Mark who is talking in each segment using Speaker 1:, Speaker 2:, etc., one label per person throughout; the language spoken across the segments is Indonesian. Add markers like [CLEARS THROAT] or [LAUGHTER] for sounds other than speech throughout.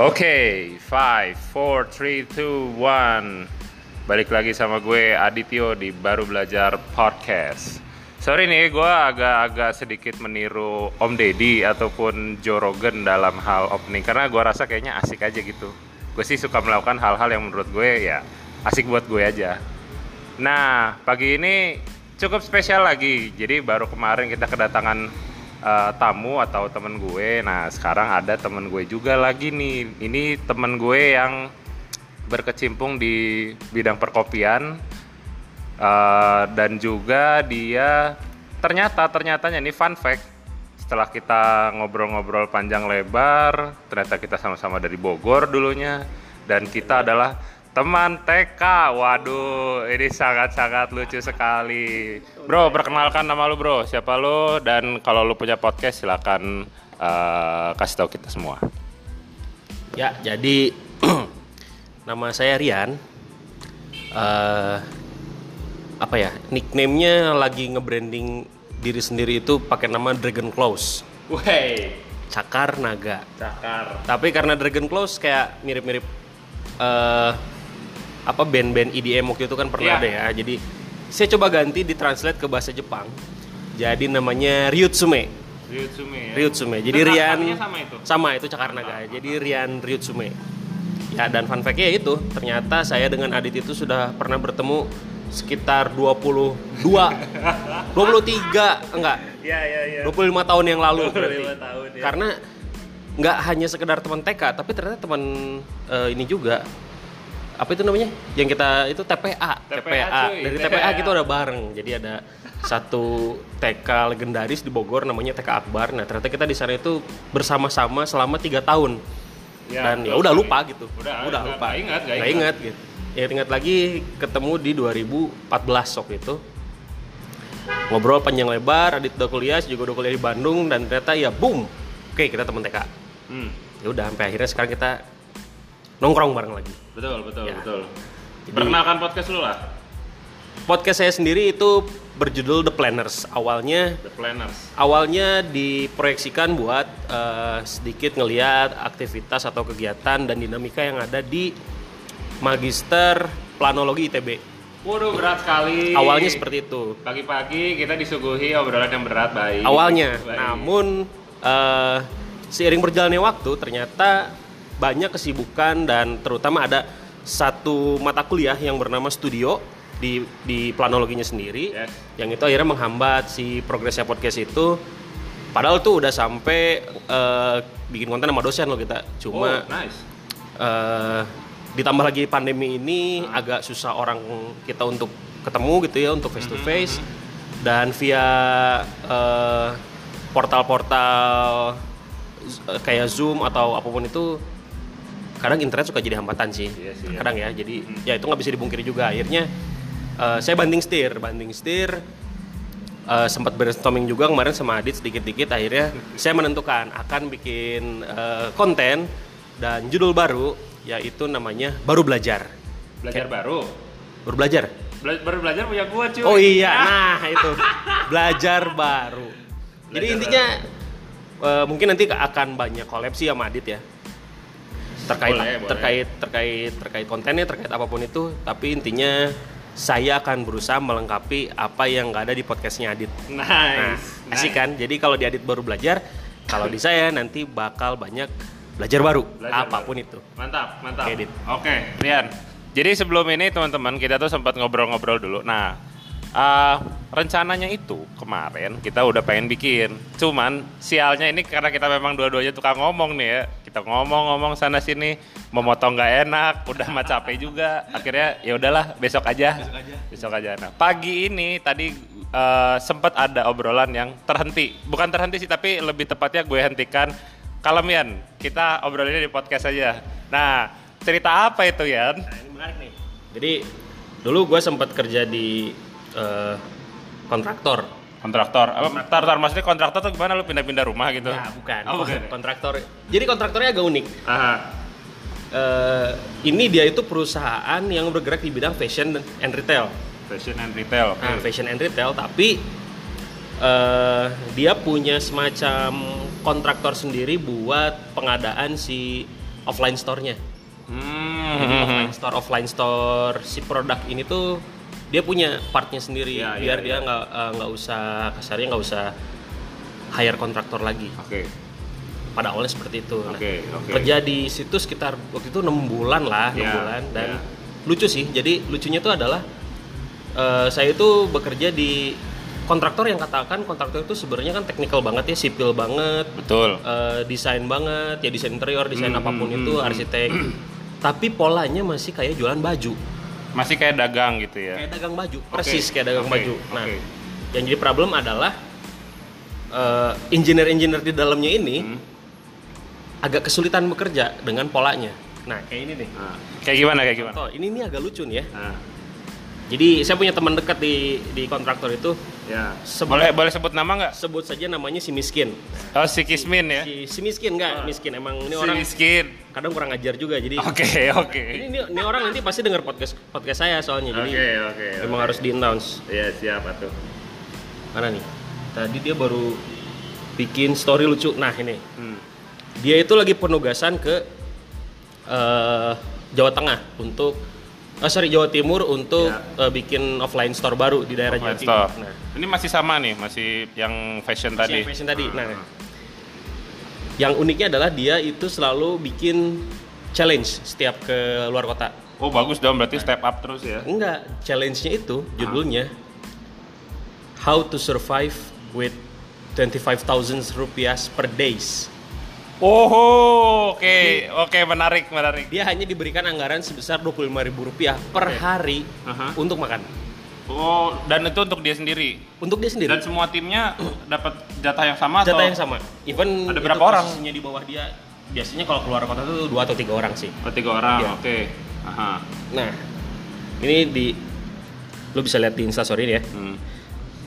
Speaker 1: Oke, 5, 4, 3, 2, 1 Balik lagi sama gue Adityo di Baru Belajar Podcast Sorry nih, gue agak-agak sedikit meniru Om Deddy ataupun Joe Rogan dalam hal opening Karena gue rasa kayaknya asik aja gitu Gue sih suka melakukan hal-hal yang menurut gue ya asik buat gue aja Nah, pagi ini cukup spesial lagi Jadi baru kemarin kita kedatangan eh, tamu atau temen gue. Nah sekarang ada temen gue juga lagi nih. Ini temen gue yang berkecimpung di bidang perkopian Eh, dan juga dia ternyata ternyatanya ini fun fact setelah kita ngobrol-ngobrol panjang lebar ternyata kita sama-sama dari Bogor dulunya dan kita adalah teman TK waduh ini sangat-sangat lucu sekali bro perkenalkan nama lu bro siapa lu dan kalau lu punya podcast silakan eh, kasih tahu kita semua
Speaker 2: Ya, jadi [CLEARS THROAT] nama saya Rian. eh apa ya? Nickname-nya lagi nge-branding diri sendiri itu pakai nama Dragon Claws.
Speaker 1: Wey,
Speaker 2: Cakar Naga.
Speaker 1: cakar.
Speaker 2: Tapi karena Dragon Claws kayak mirip-mirip eh apa band-band EDM waktu itu kan
Speaker 1: Iya.
Speaker 2: pernah ada ya. Jadi saya coba ganti ditranslate ke bahasa Jepang. Jadi namanya Ryutsume.
Speaker 1: Ryutsume. ya?
Speaker 2: Ryutsume. Jadi
Speaker 1: Itu
Speaker 2: Rian
Speaker 1: artinya sama itu.
Speaker 2: Sama itu Cakar Naga. Jadi Rian Ryutsume. Ya dan fun fact-nya ya itu ternyata saya dengan Adit itu sudah pernah bertemu sekitar 22 23 enggak
Speaker 1: Iya iya iya.
Speaker 2: 25 tahun yang lalu
Speaker 1: 25
Speaker 2: berarti.
Speaker 1: tahun, ya.
Speaker 2: Karena nggak hanya sekedar teman TK tapi ternyata teman eh, ini juga apa itu namanya yang kita itu TPA
Speaker 1: TPA, cuy,
Speaker 2: dari
Speaker 1: TPA.
Speaker 2: TPA, kita udah bareng jadi ada satu TK legendaris di Bogor namanya TK Akbar nah ternyata kita di sana itu bersama-sama selama tiga tahun
Speaker 1: Ya,
Speaker 2: dan ya
Speaker 1: betul
Speaker 2: udah
Speaker 1: sekali.
Speaker 2: lupa gitu
Speaker 1: Udah, nggak-
Speaker 2: lupa
Speaker 1: nggak ingat, nggak
Speaker 2: Nggak
Speaker 1: ingat.
Speaker 2: ingat gitu ya ingat lagi ketemu di 2014 waktu itu ngobrol panjang lebar Adit udah kuliah saya juga udah kuliah di Bandung dan ternyata ya boom oke kita teman TK
Speaker 1: Hmm,
Speaker 2: ya udah sampai akhirnya sekarang kita nongkrong bareng lagi
Speaker 1: betul betul
Speaker 2: Ya.
Speaker 1: betul.
Speaker 2: Jadi-
Speaker 1: Perkenalkan podcast lu lah,
Speaker 2: podcast saya sendiri itu berjudul The Planners awalnya
Speaker 1: The Planners.
Speaker 2: awalnya diproyeksikan buat eh, sedikit ngelihat aktivitas atau kegiatan dan dinamika yang ada di Magister Planologi ITB
Speaker 1: Waduh berat sekali.
Speaker 2: awalnya seperti itu
Speaker 1: Pagi-pagi kita disuguhi obrolan yang berat baik.
Speaker 2: awalnya.
Speaker 1: Baik.
Speaker 2: Namun eh, seiring berjalannya waktu ternyata banyak kesibukan dan terutama ada satu mata kuliah yang bernama studio di di planologinya sendiri
Speaker 1: Yes.
Speaker 2: yang itu akhirnya menghambat si progresnya podcast itu padahal tuh udah sampai eh, bikin konten sama dosen loh kita
Speaker 1: Oh,
Speaker 2: cuma
Speaker 1: nice.
Speaker 2: eh ditambah lagi pandemi ini agak susah orang kita untuk ketemu gitu ya untuk face to face
Speaker 1: Mm-hmm,
Speaker 2: dan via eh, portal-portal z- eh, kayak Zoom atau apapun itu kadang internet suka jadi hambatan sih
Speaker 1: Iya sih, ya.
Speaker 2: kadang ya jadi ya itu nggak bisa dibungkiri juga akhirnya eh, saya banding setir banding setir eh, sempat brainstorming juga kemarin sama Adit sedikit-dikit akhirnya saya menentukan akan bikin eh, konten dan judul baru yaitu namanya baru belajar
Speaker 1: Belajar baru.
Speaker 2: baru belajar
Speaker 1: Bela- baru belajar punya gua cuy.
Speaker 2: oh iya nah itu belajar baru jadi
Speaker 1: Belajar
Speaker 2: intinya eh, mungkin nanti akan banyak collab sih sama Adit ya terkait
Speaker 1: Boleh, boleh.
Speaker 2: terkait terkait terkait kontennya terkait apapun itu tapi intinya saya akan berusaha melengkapi apa yang nggak ada di podcastnya Adit Nah,
Speaker 1: Nice. nice.
Speaker 2: asik kan? Jadi kalau di Adit baru belajar, kalau di saya nanti bakal banyak belajar baru,
Speaker 1: Belajar
Speaker 2: apapun itu.
Speaker 1: Mantap, mantap.
Speaker 2: Oke, Dit.
Speaker 1: Oke, Rian. Jadi sebelum ini teman-teman kita tuh sempat ngobrol-ngobrol dulu. Nah, eh, rencananya itu kemarin kita udah pengen bikin. Cuman sialnya ini karena kita memang dua-duanya tukang ngomong nih ya. Kita ngomong-ngomong sana sini, memotong nggak enak, udah mah capek juga. Akhirnya ya udahlah besok aja. Besok aja. Nah, pagi ini tadi eh, sempat ada obrolan yang terhenti. Bukan terhenti sih, tapi lebih tepatnya gue hentikan Kalem Yan, kita obrolinnya di podcast aja. Nah, cerita apa itu Yan?
Speaker 2: ini menarik nih. Jadi dulu gue sempat kerja di eh, kontraktor.
Speaker 1: Kontraktor. Apa tar, tar maksudnya kontraktor tuh gimana lu pindah-pindah rumah gitu?
Speaker 2: Ya, bukan.
Speaker 1: Oh, bukan.
Speaker 2: Kontraktor. Jadi kontraktornya agak unik.
Speaker 1: Aha.
Speaker 2: Eh, ini dia itu perusahaan yang bergerak di bidang fashion and retail.
Speaker 1: Fashion and retail.
Speaker 2: Nah, fashion and retail, tapi eh, dia punya semacam kontraktor sendiri buat pengadaan si offline store-nya. Jadi
Speaker 1: Hmm.
Speaker 2: offline store offline store si produk ini tuh dia punya partnya sendiri
Speaker 1: Iya,
Speaker 2: biar
Speaker 1: iya,
Speaker 2: dia
Speaker 1: iya.
Speaker 2: nggak eh, nggak usah kasarnya nggak usah hire kontraktor lagi
Speaker 1: Oke.
Speaker 2: pada awalnya seperti itu Nah,
Speaker 1: Oke, oke.
Speaker 2: kerja di situ sekitar waktu itu enam bulan lah enam
Speaker 1: Iya,
Speaker 2: bulan dan
Speaker 1: iya.
Speaker 2: lucu sih jadi lucunya tuh adalah eh, saya itu bekerja di kontraktor yang katakan kontraktor itu sebenarnya kan teknikal banget ya sipil banget
Speaker 1: Betul.
Speaker 2: eh, desain banget ya desain interior desain
Speaker 1: Hmm,
Speaker 2: apapun
Speaker 1: hmm,
Speaker 2: itu
Speaker 1: hmm,
Speaker 2: arsitek tapi polanya masih kayak jualan baju
Speaker 1: Masih kayak dagang gitu ya.
Speaker 2: kayak dagang baju
Speaker 1: Oke.
Speaker 2: persis kayak dagang
Speaker 1: Oke,
Speaker 2: baju nah
Speaker 1: oke.
Speaker 2: yang jadi problem adalah eh, engineer-engineer di dalamnya ini
Speaker 1: Hmm.
Speaker 2: agak kesulitan bekerja dengan polanya nah kayak ini nih
Speaker 1: Nah, Kayak gimana kayak gimana?
Speaker 2: Contoh, ini nih agak lucu nih ya
Speaker 1: Nah,
Speaker 2: jadi saya punya teman dekat di di kontraktor itu
Speaker 1: ya.
Speaker 2: Sebelum-
Speaker 1: Boleh boleh sebut nama nggak?
Speaker 2: sebut saja namanya si miskin
Speaker 1: Oh si Kismin ya.
Speaker 2: si, si miskin enggak miskin emang ini
Speaker 1: Si
Speaker 2: orang
Speaker 1: miskin.
Speaker 2: kadang kurang ajar juga jadi
Speaker 1: Oke oke.
Speaker 2: Ini, ini, ini orang nanti pasti dengar podcast podcast saya soalnya jadi
Speaker 1: Oke oke.
Speaker 2: emang harus di announce
Speaker 1: Iya siap atuh.
Speaker 2: mana nih tadi dia baru bikin story lucu nah ini
Speaker 1: Hmm.
Speaker 2: dia itu lagi penugasan ke eh, Jawa Tengah untuk oh sorry Jawa Timur untuk eh, bikin offline store baru di daerah
Speaker 1: Ya.
Speaker 2: Jawa
Speaker 1: Offline
Speaker 2: Timur
Speaker 1: store.
Speaker 2: nah
Speaker 1: Ini masih sama nih, masih yang fashion tadi. Hmm.
Speaker 2: si fashion tadi nah yang uniknya adalah dia itu selalu bikin challenge setiap ke luar kota
Speaker 1: Oh bagus dong, berarti step up terus ya.
Speaker 2: Enggak, challenge-nya itu judulnya How to survive with 25,000 rupiah per days.
Speaker 1: Oh, oke, oke menarik, menarik.
Speaker 2: Dia hanya diberikan anggaran sebesar 25.000 rupiah per hari
Speaker 1: Aha.
Speaker 2: untuk makan.
Speaker 1: Oh, dan itu untuk dia sendiri.
Speaker 2: Untuk dia sendiri.
Speaker 1: Dan semua timnya dapat jatah yang sama
Speaker 2: Jatah
Speaker 1: atau
Speaker 2: yang sama. Even
Speaker 1: Ada
Speaker 2: itu
Speaker 1: berapa orang?
Speaker 2: posisinya di bawah dia biasanya kalau keluar kota tuh dua atau tiga orang sih.
Speaker 1: Oh, tiga orang,
Speaker 2: Iya.
Speaker 1: oke. Aha.
Speaker 2: Nah, ini di lu bisa lihat di Instastory ini ya.
Speaker 1: Hmm.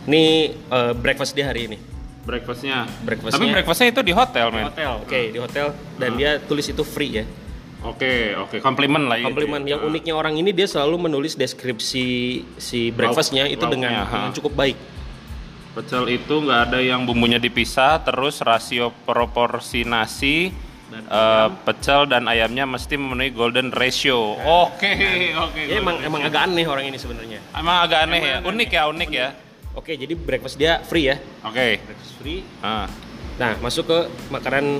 Speaker 2: Ini eh, breakfast dia hari ini.
Speaker 1: Breakfastnya.
Speaker 2: Breakfastnya-
Speaker 1: Tapi breakfastnya itu di hotel,
Speaker 2: Di
Speaker 1: men. Oke,
Speaker 2: hotel. Oke, di hotel dan dia tulis itu free ya.
Speaker 1: oke, komplimen lah. itu
Speaker 2: komplimen
Speaker 1: ya.
Speaker 2: yang uniknya orang ini dia selalu menulis deskripsi si breakfastnya itu
Speaker 1: lauknya,
Speaker 2: dengan,
Speaker 1: ha.
Speaker 2: dengan cukup baik
Speaker 1: Pecel itu nggak ada yang bumbunya dipisah, terus rasio proporsi nasi, eh, pecel dan ayamnya mesti memenuhi golden ratio. Oke, oke.
Speaker 2: ya emang
Speaker 1: golden
Speaker 2: emang
Speaker 1: ratio.
Speaker 2: agak aneh orang ini sebenarnya
Speaker 1: Emang agak aneh ya, unik ya, unik ya.
Speaker 2: oke jadi breakfast dia free ya
Speaker 1: Oke.
Speaker 2: breakfast free
Speaker 1: Ah.
Speaker 2: nah masuk ke makanan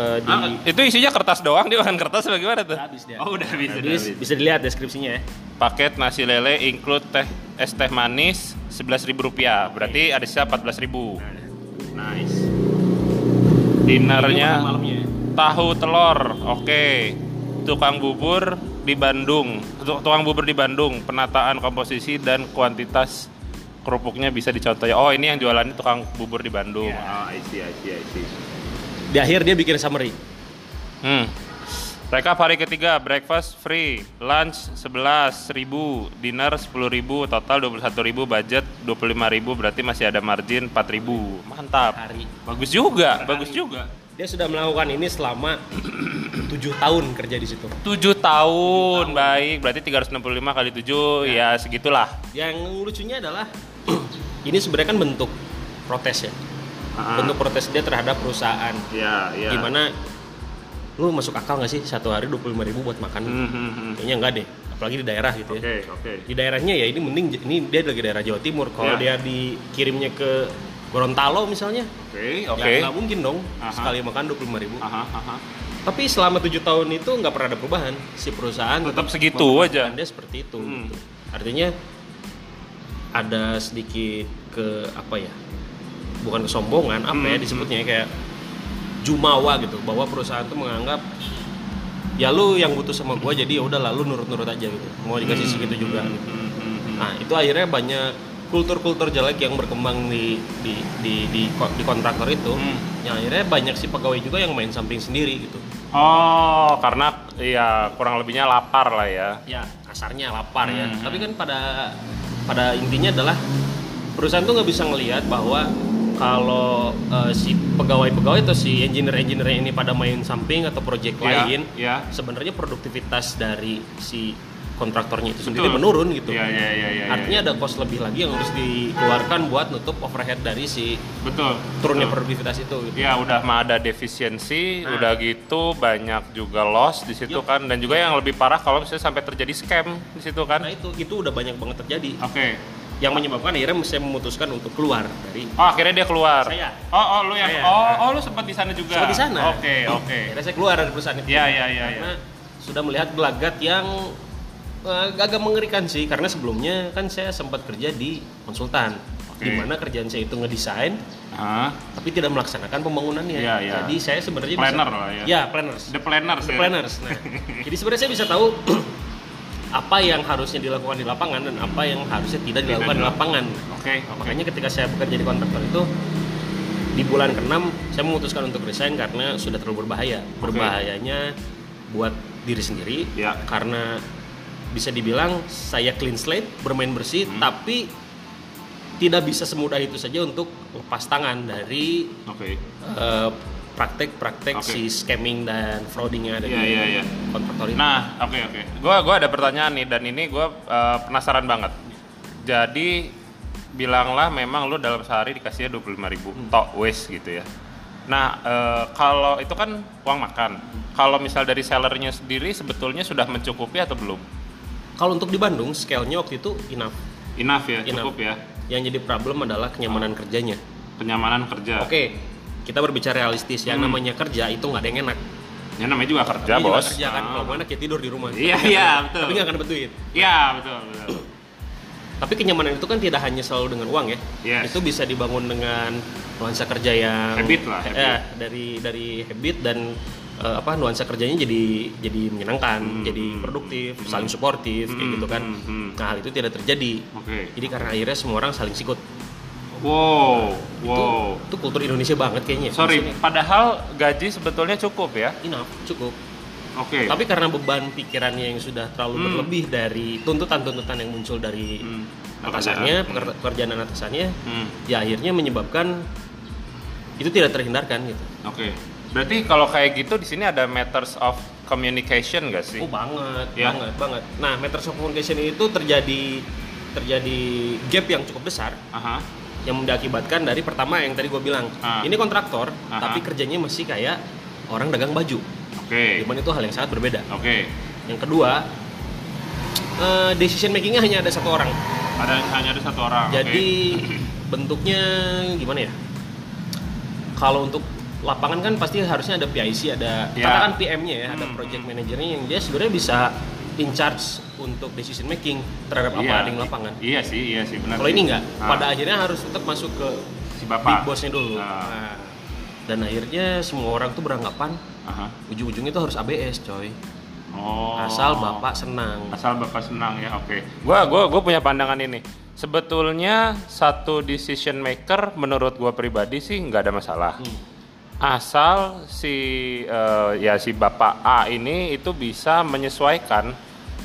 Speaker 2: eh, di
Speaker 1: Ah, itu isinya kertas doang, dia makan kertas atau gimana tuh?
Speaker 2: Udah habis dia.
Speaker 1: Oh, udah habis,
Speaker 2: Nah,
Speaker 1: udah
Speaker 2: bis-
Speaker 1: habis.
Speaker 2: bisa dilihat deskripsinya ya
Speaker 1: Paket nasi lele include teh es teh manis Rp11.000. Berarti ada sisa 14.000.
Speaker 2: Nah, ya. nice
Speaker 1: Dinernya
Speaker 2: malamnya ya.
Speaker 1: Tahu telur, oke. Tukang bubur di Bandung, Tu- tukang bubur di Bandung, penataan komposisi dan kuantitas kerupuknya bisa dicontoh. Oh ini yang jualannya tukang bubur di Bandung. Ah, I see, I see, I see.
Speaker 2: di akhir dia bikin summary
Speaker 1: Hmm. Rekap hari ketiga, breakfast free, lunch 11.000, dinner 10.000, total 21.000, budget 25.000, berarti masih ada margin 4.000. Mantap.
Speaker 2: hari
Speaker 1: Bagus juga, bagus juga.
Speaker 2: dia sudah melakukan ini selama [CLEARS THROAT] tujuh tahun kerja di situ
Speaker 1: 7 tahun, baik. Berarti 365 kali 7 ya segitulah.
Speaker 2: yang lucunya adalah [CLEARS THROAT] ini sebenarnya kan bentuk protes ya bentuk protes dia terhadap perusahaan
Speaker 1: Ya, ya.
Speaker 2: gimana lu masuk akal nggak sih satu hari 25.000 ribu buat makan kayaknya enggak deh apalagi di daerah gitu ya
Speaker 1: Hmm. oke.
Speaker 2: di daerahnya ya ini mending j- ini dia lagi daerah Jawa Timur kalau
Speaker 1: Ya.
Speaker 2: dia dikirimnya ke Gorontalo misalnya
Speaker 1: Oke,
Speaker 2: ya nggak mungkin dong
Speaker 1: Aha.
Speaker 2: sekali makan 25.000 ribu
Speaker 1: Aha, aha.
Speaker 2: tapi selama tujuh tahun itu nggak pernah ada perubahan si perusahaan
Speaker 1: Tetap segitu aja.
Speaker 2: memperlakukan dia seperti itu
Speaker 1: Hmm.
Speaker 2: gitu. artinya ada sedikit ke apa ya bukan kesombongan apa ya
Speaker 1: Hmm.
Speaker 2: disebutnya ya, kayak jumawa gitu bahwa perusahaan tuh menganggap ya lu yang butuh sama gua jadi ya udah lalu nurut-nurut aja gitu mau dikasih
Speaker 1: Hmm.
Speaker 2: segitu juga nah itu akhirnya banyak kultur-kultur jelek yang berkembang di di di di, ko- di kontraktor itu
Speaker 1: Hmm.
Speaker 2: yang akhirnya banyak si pegawai juga yang main samping sendiri gitu
Speaker 1: Oh, karena ya kurang lebihnya lapar lah ya.
Speaker 2: ya kasarnya lapar ya
Speaker 1: Hmm.
Speaker 2: tapi kan pada pada intinya adalah perusahaan tuh nggak bisa ngelihat bahwa kalau eh, si pegawai-pegawai atau si engineer-engineer Iya. ini pada main samping atau project lain
Speaker 1: Ya.
Speaker 2: sebenarnya produktivitas dari si kontraktornya itu sendiri
Speaker 1: Betul.
Speaker 2: menurun gitu.
Speaker 1: Iya, iya, iya, iya,
Speaker 2: Artinya
Speaker 1: iya.
Speaker 2: ada cost lebih lagi yang harus dikeluarkan buat nutup overhead dari si
Speaker 1: betul.
Speaker 2: turunnya
Speaker 1: betul.
Speaker 2: produktivitas itu. Gitu.
Speaker 1: Ya udah mah ada defisiensi,
Speaker 2: Nah. Iya.
Speaker 1: udah gitu banyak juga loss di situ
Speaker 2: Yup.
Speaker 1: kan dan juga yang lebih parah kalau misalnya sampai terjadi scam di situ
Speaker 2: Nah
Speaker 1: kan.
Speaker 2: itu itu udah banyak banget terjadi
Speaker 1: Oke.
Speaker 2: yang menyebabkan akhirnya saya memutuskan untuk keluar dari
Speaker 1: Oh akhirnya dia keluar.
Speaker 2: Saya.
Speaker 1: Oh oh lu yang
Speaker 2: Saya.
Speaker 1: oh oh lu sempat di sana juga.
Speaker 2: Sempat di sana.
Speaker 1: Oke oke.
Speaker 2: akhirnya saya keluar dari perusahaan itu.
Speaker 1: Iya iya iya. iya.
Speaker 2: karena sudah melihat gelagat yang eh, agak mengerikan sih karena sebelumnya kan saya sempat kerja di konsultan
Speaker 1: Oke.
Speaker 2: di mana kerjaan saya itu ngedesain
Speaker 1: Hah?
Speaker 2: tapi tidak melaksanakan pembangunannya
Speaker 1: Iya, iya.
Speaker 2: jadi saya sebenarnya
Speaker 1: Planner
Speaker 2: bisa,
Speaker 1: lah ya.
Speaker 2: ya planners
Speaker 1: The iya. planner ya?
Speaker 2: The planners
Speaker 1: [LAUGHS]
Speaker 2: nah jadi sebenarnya saya bisa tahu [CLEARS THROAT] apa yang harusnya dilakukan di lapangan dan apa yang harusnya tidak dilakukan di
Speaker 1: dilakukan.
Speaker 2: lapangan
Speaker 1: Oke oke.
Speaker 2: Nah, makanya ketika saya bekerja di kontraktor itu di bulan keenam saya memutuskan untuk resign karena sudah terlalu berbahaya berbahayanya buat diri sendiri
Speaker 1: Ya.
Speaker 2: karena bisa dibilang saya clean slate bermain bersih
Speaker 1: Hmm.
Speaker 2: tapi tidak bisa semudah itu saja untuk lepas tangan dari [LAUGHS]
Speaker 1: Oke.
Speaker 2: eh, praktek-praktek
Speaker 1: Oke.
Speaker 2: si scamming dan fraudingnya dari
Speaker 1: Iya iya iya.
Speaker 2: kontraktor itu.
Speaker 1: Nah, oke oke. Gua gua ada pertanyaan nih dan ini gua eh, penasaran banget. Jadi bilanglah memang lu dalam sehari dikasihnya 25.000 ribu
Speaker 2: Hmm.
Speaker 1: tok wes gitu ya. Nah, eh, kalau itu kan uang makan. Kalau misal dari sellernya sendiri sebetulnya sudah mencukupi atau belum?
Speaker 2: Kalau untuk di Bandung scale-nya waktu itu enough.
Speaker 1: Enough ya,
Speaker 2: Enough.
Speaker 1: cukup ya.
Speaker 2: Yang jadi problem adalah kenyamanan
Speaker 1: Ah.
Speaker 2: kerjanya.
Speaker 1: Kenyamanan kerja.
Speaker 2: Oke, kita berbicara realistis. Yang namanya kerja itu nggak ada yang enak.
Speaker 1: Hmm. Ya namanya juga kerja,
Speaker 2: Ini juga
Speaker 1: Bos.
Speaker 2: Kerja kan,
Speaker 1: Ah.
Speaker 2: kalau mau enak ya tidur di rumah.
Speaker 1: Iya,
Speaker 2: [LAUGHS]
Speaker 1: iya, betul.
Speaker 2: Tapi nggak akan dapat duit.
Speaker 1: Iya, betul, betul.
Speaker 2: Tapi kenyamanan itu kan tidak hanya selalu dengan uang ya.
Speaker 1: Yes.
Speaker 2: Itu bisa dibangun dengan nuansa kerja yang
Speaker 1: Habit lah,
Speaker 2: eh,
Speaker 1: habit.
Speaker 2: eh, dari dari habit dan eh, apa nuansa kerjanya jadi jadi menyenangkan, jadi produktif, saling suportif kayak gitu kan.
Speaker 1: hmm, hmm.
Speaker 2: Nah, hal itu tidak terjadi.
Speaker 1: Oke.
Speaker 2: Jadi karena akhirnya semua orang saling sikut.
Speaker 1: Wow,
Speaker 2: Itu,
Speaker 1: wow.
Speaker 2: itu kultur Indonesia banget kayaknya.
Speaker 1: Sorry,
Speaker 2: Maksudnya,
Speaker 1: padahal gaji sebetulnya cukup ya.
Speaker 2: enough, cukup.
Speaker 1: Oke.
Speaker 2: Tapi karena beban pikirannya yang sudah terlalu
Speaker 1: Hmm.
Speaker 2: berlebih dari tuntutan-tuntutan yang muncul dari
Speaker 1: Hmm.
Speaker 2: atasannya,
Speaker 1: Pekerjaan.
Speaker 2: peker- pekerjaan dan atasannya,
Speaker 1: Hmm.
Speaker 2: ya akhirnya menyebabkan itu tidak terhindarkan gitu.
Speaker 1: Oke. Berarti kalau kayak gitu di sini ada matters of communication gak sih?
Speaker 2: Oh banget,
Speaker 1: Ya.
Speaker 2: banget, banget. Nah, matters of communication itu terjadi terjadi gap yang cukup besar
Speaker 1: Aha.
Speaker 2: yang mengakibatkan dari pertama yang tadi gue bilang
Speaker 1: Ah.
Speaker 2: ini kontraktor
Speaker 1: Aha.
Speaker 2: tapi kerjanya masih kayak orang dagang baju,
Speaker 1: Oke.
Speaker 2: cuman itu hal yang sangat berbeda.
Speaker 1: Oke.
Speaker 2: Yang kedua, eh, decision makingnya hanya ada satu orang.
Speaker 1: Ada hanya ada satu orang. oke.
Speaker 2: Jadi bentuknya gimana ya? Kalau untuk lapangan kan pasti harusnya ada PIC, ada
Speaker 1: Ya.
Speaker 2: katakan PM-nya ya, ada
Speaker 1: Hmm,
Speaker 2: project manajernya yang dia sebenarnya bisa in charge untuk decision making terhadap apa
Speaker 1: Iya.
Speaker 2: ada di lapangan.
Speaker 1: Iya sih, iya sih benar.
Speaker 2: Kalau
Speaker 1: sih.
Speaker 2: ini enggak,
Speaker 1: Ah,
Speaker 2: pada akhirnya harus tetap masuk ke
Speaker 1: si
Speaker 2: big
Speaker 1: bapak.
Speaker 2: boss-nya dulu.
Speaker 1: Ah.
Speaker 2: Nah, dan akhirnya semua orang tuh beranggapan
Speaker 1: Aha.
Speaker 2: ujung-ujungnya tuh harus ABS, coy.
Speaker 1: Oh.
Speaker 2: Asal bapak senang.
Speaker 1: Asal bapak senang ya, oke. Gua, gua, gua punya pandangan ini. Sebetulnya satu decision maker menurut gua pribadi sih nggak ada masalah. Asal si eh, ya si bapak A ini itu bisa menyesuaikan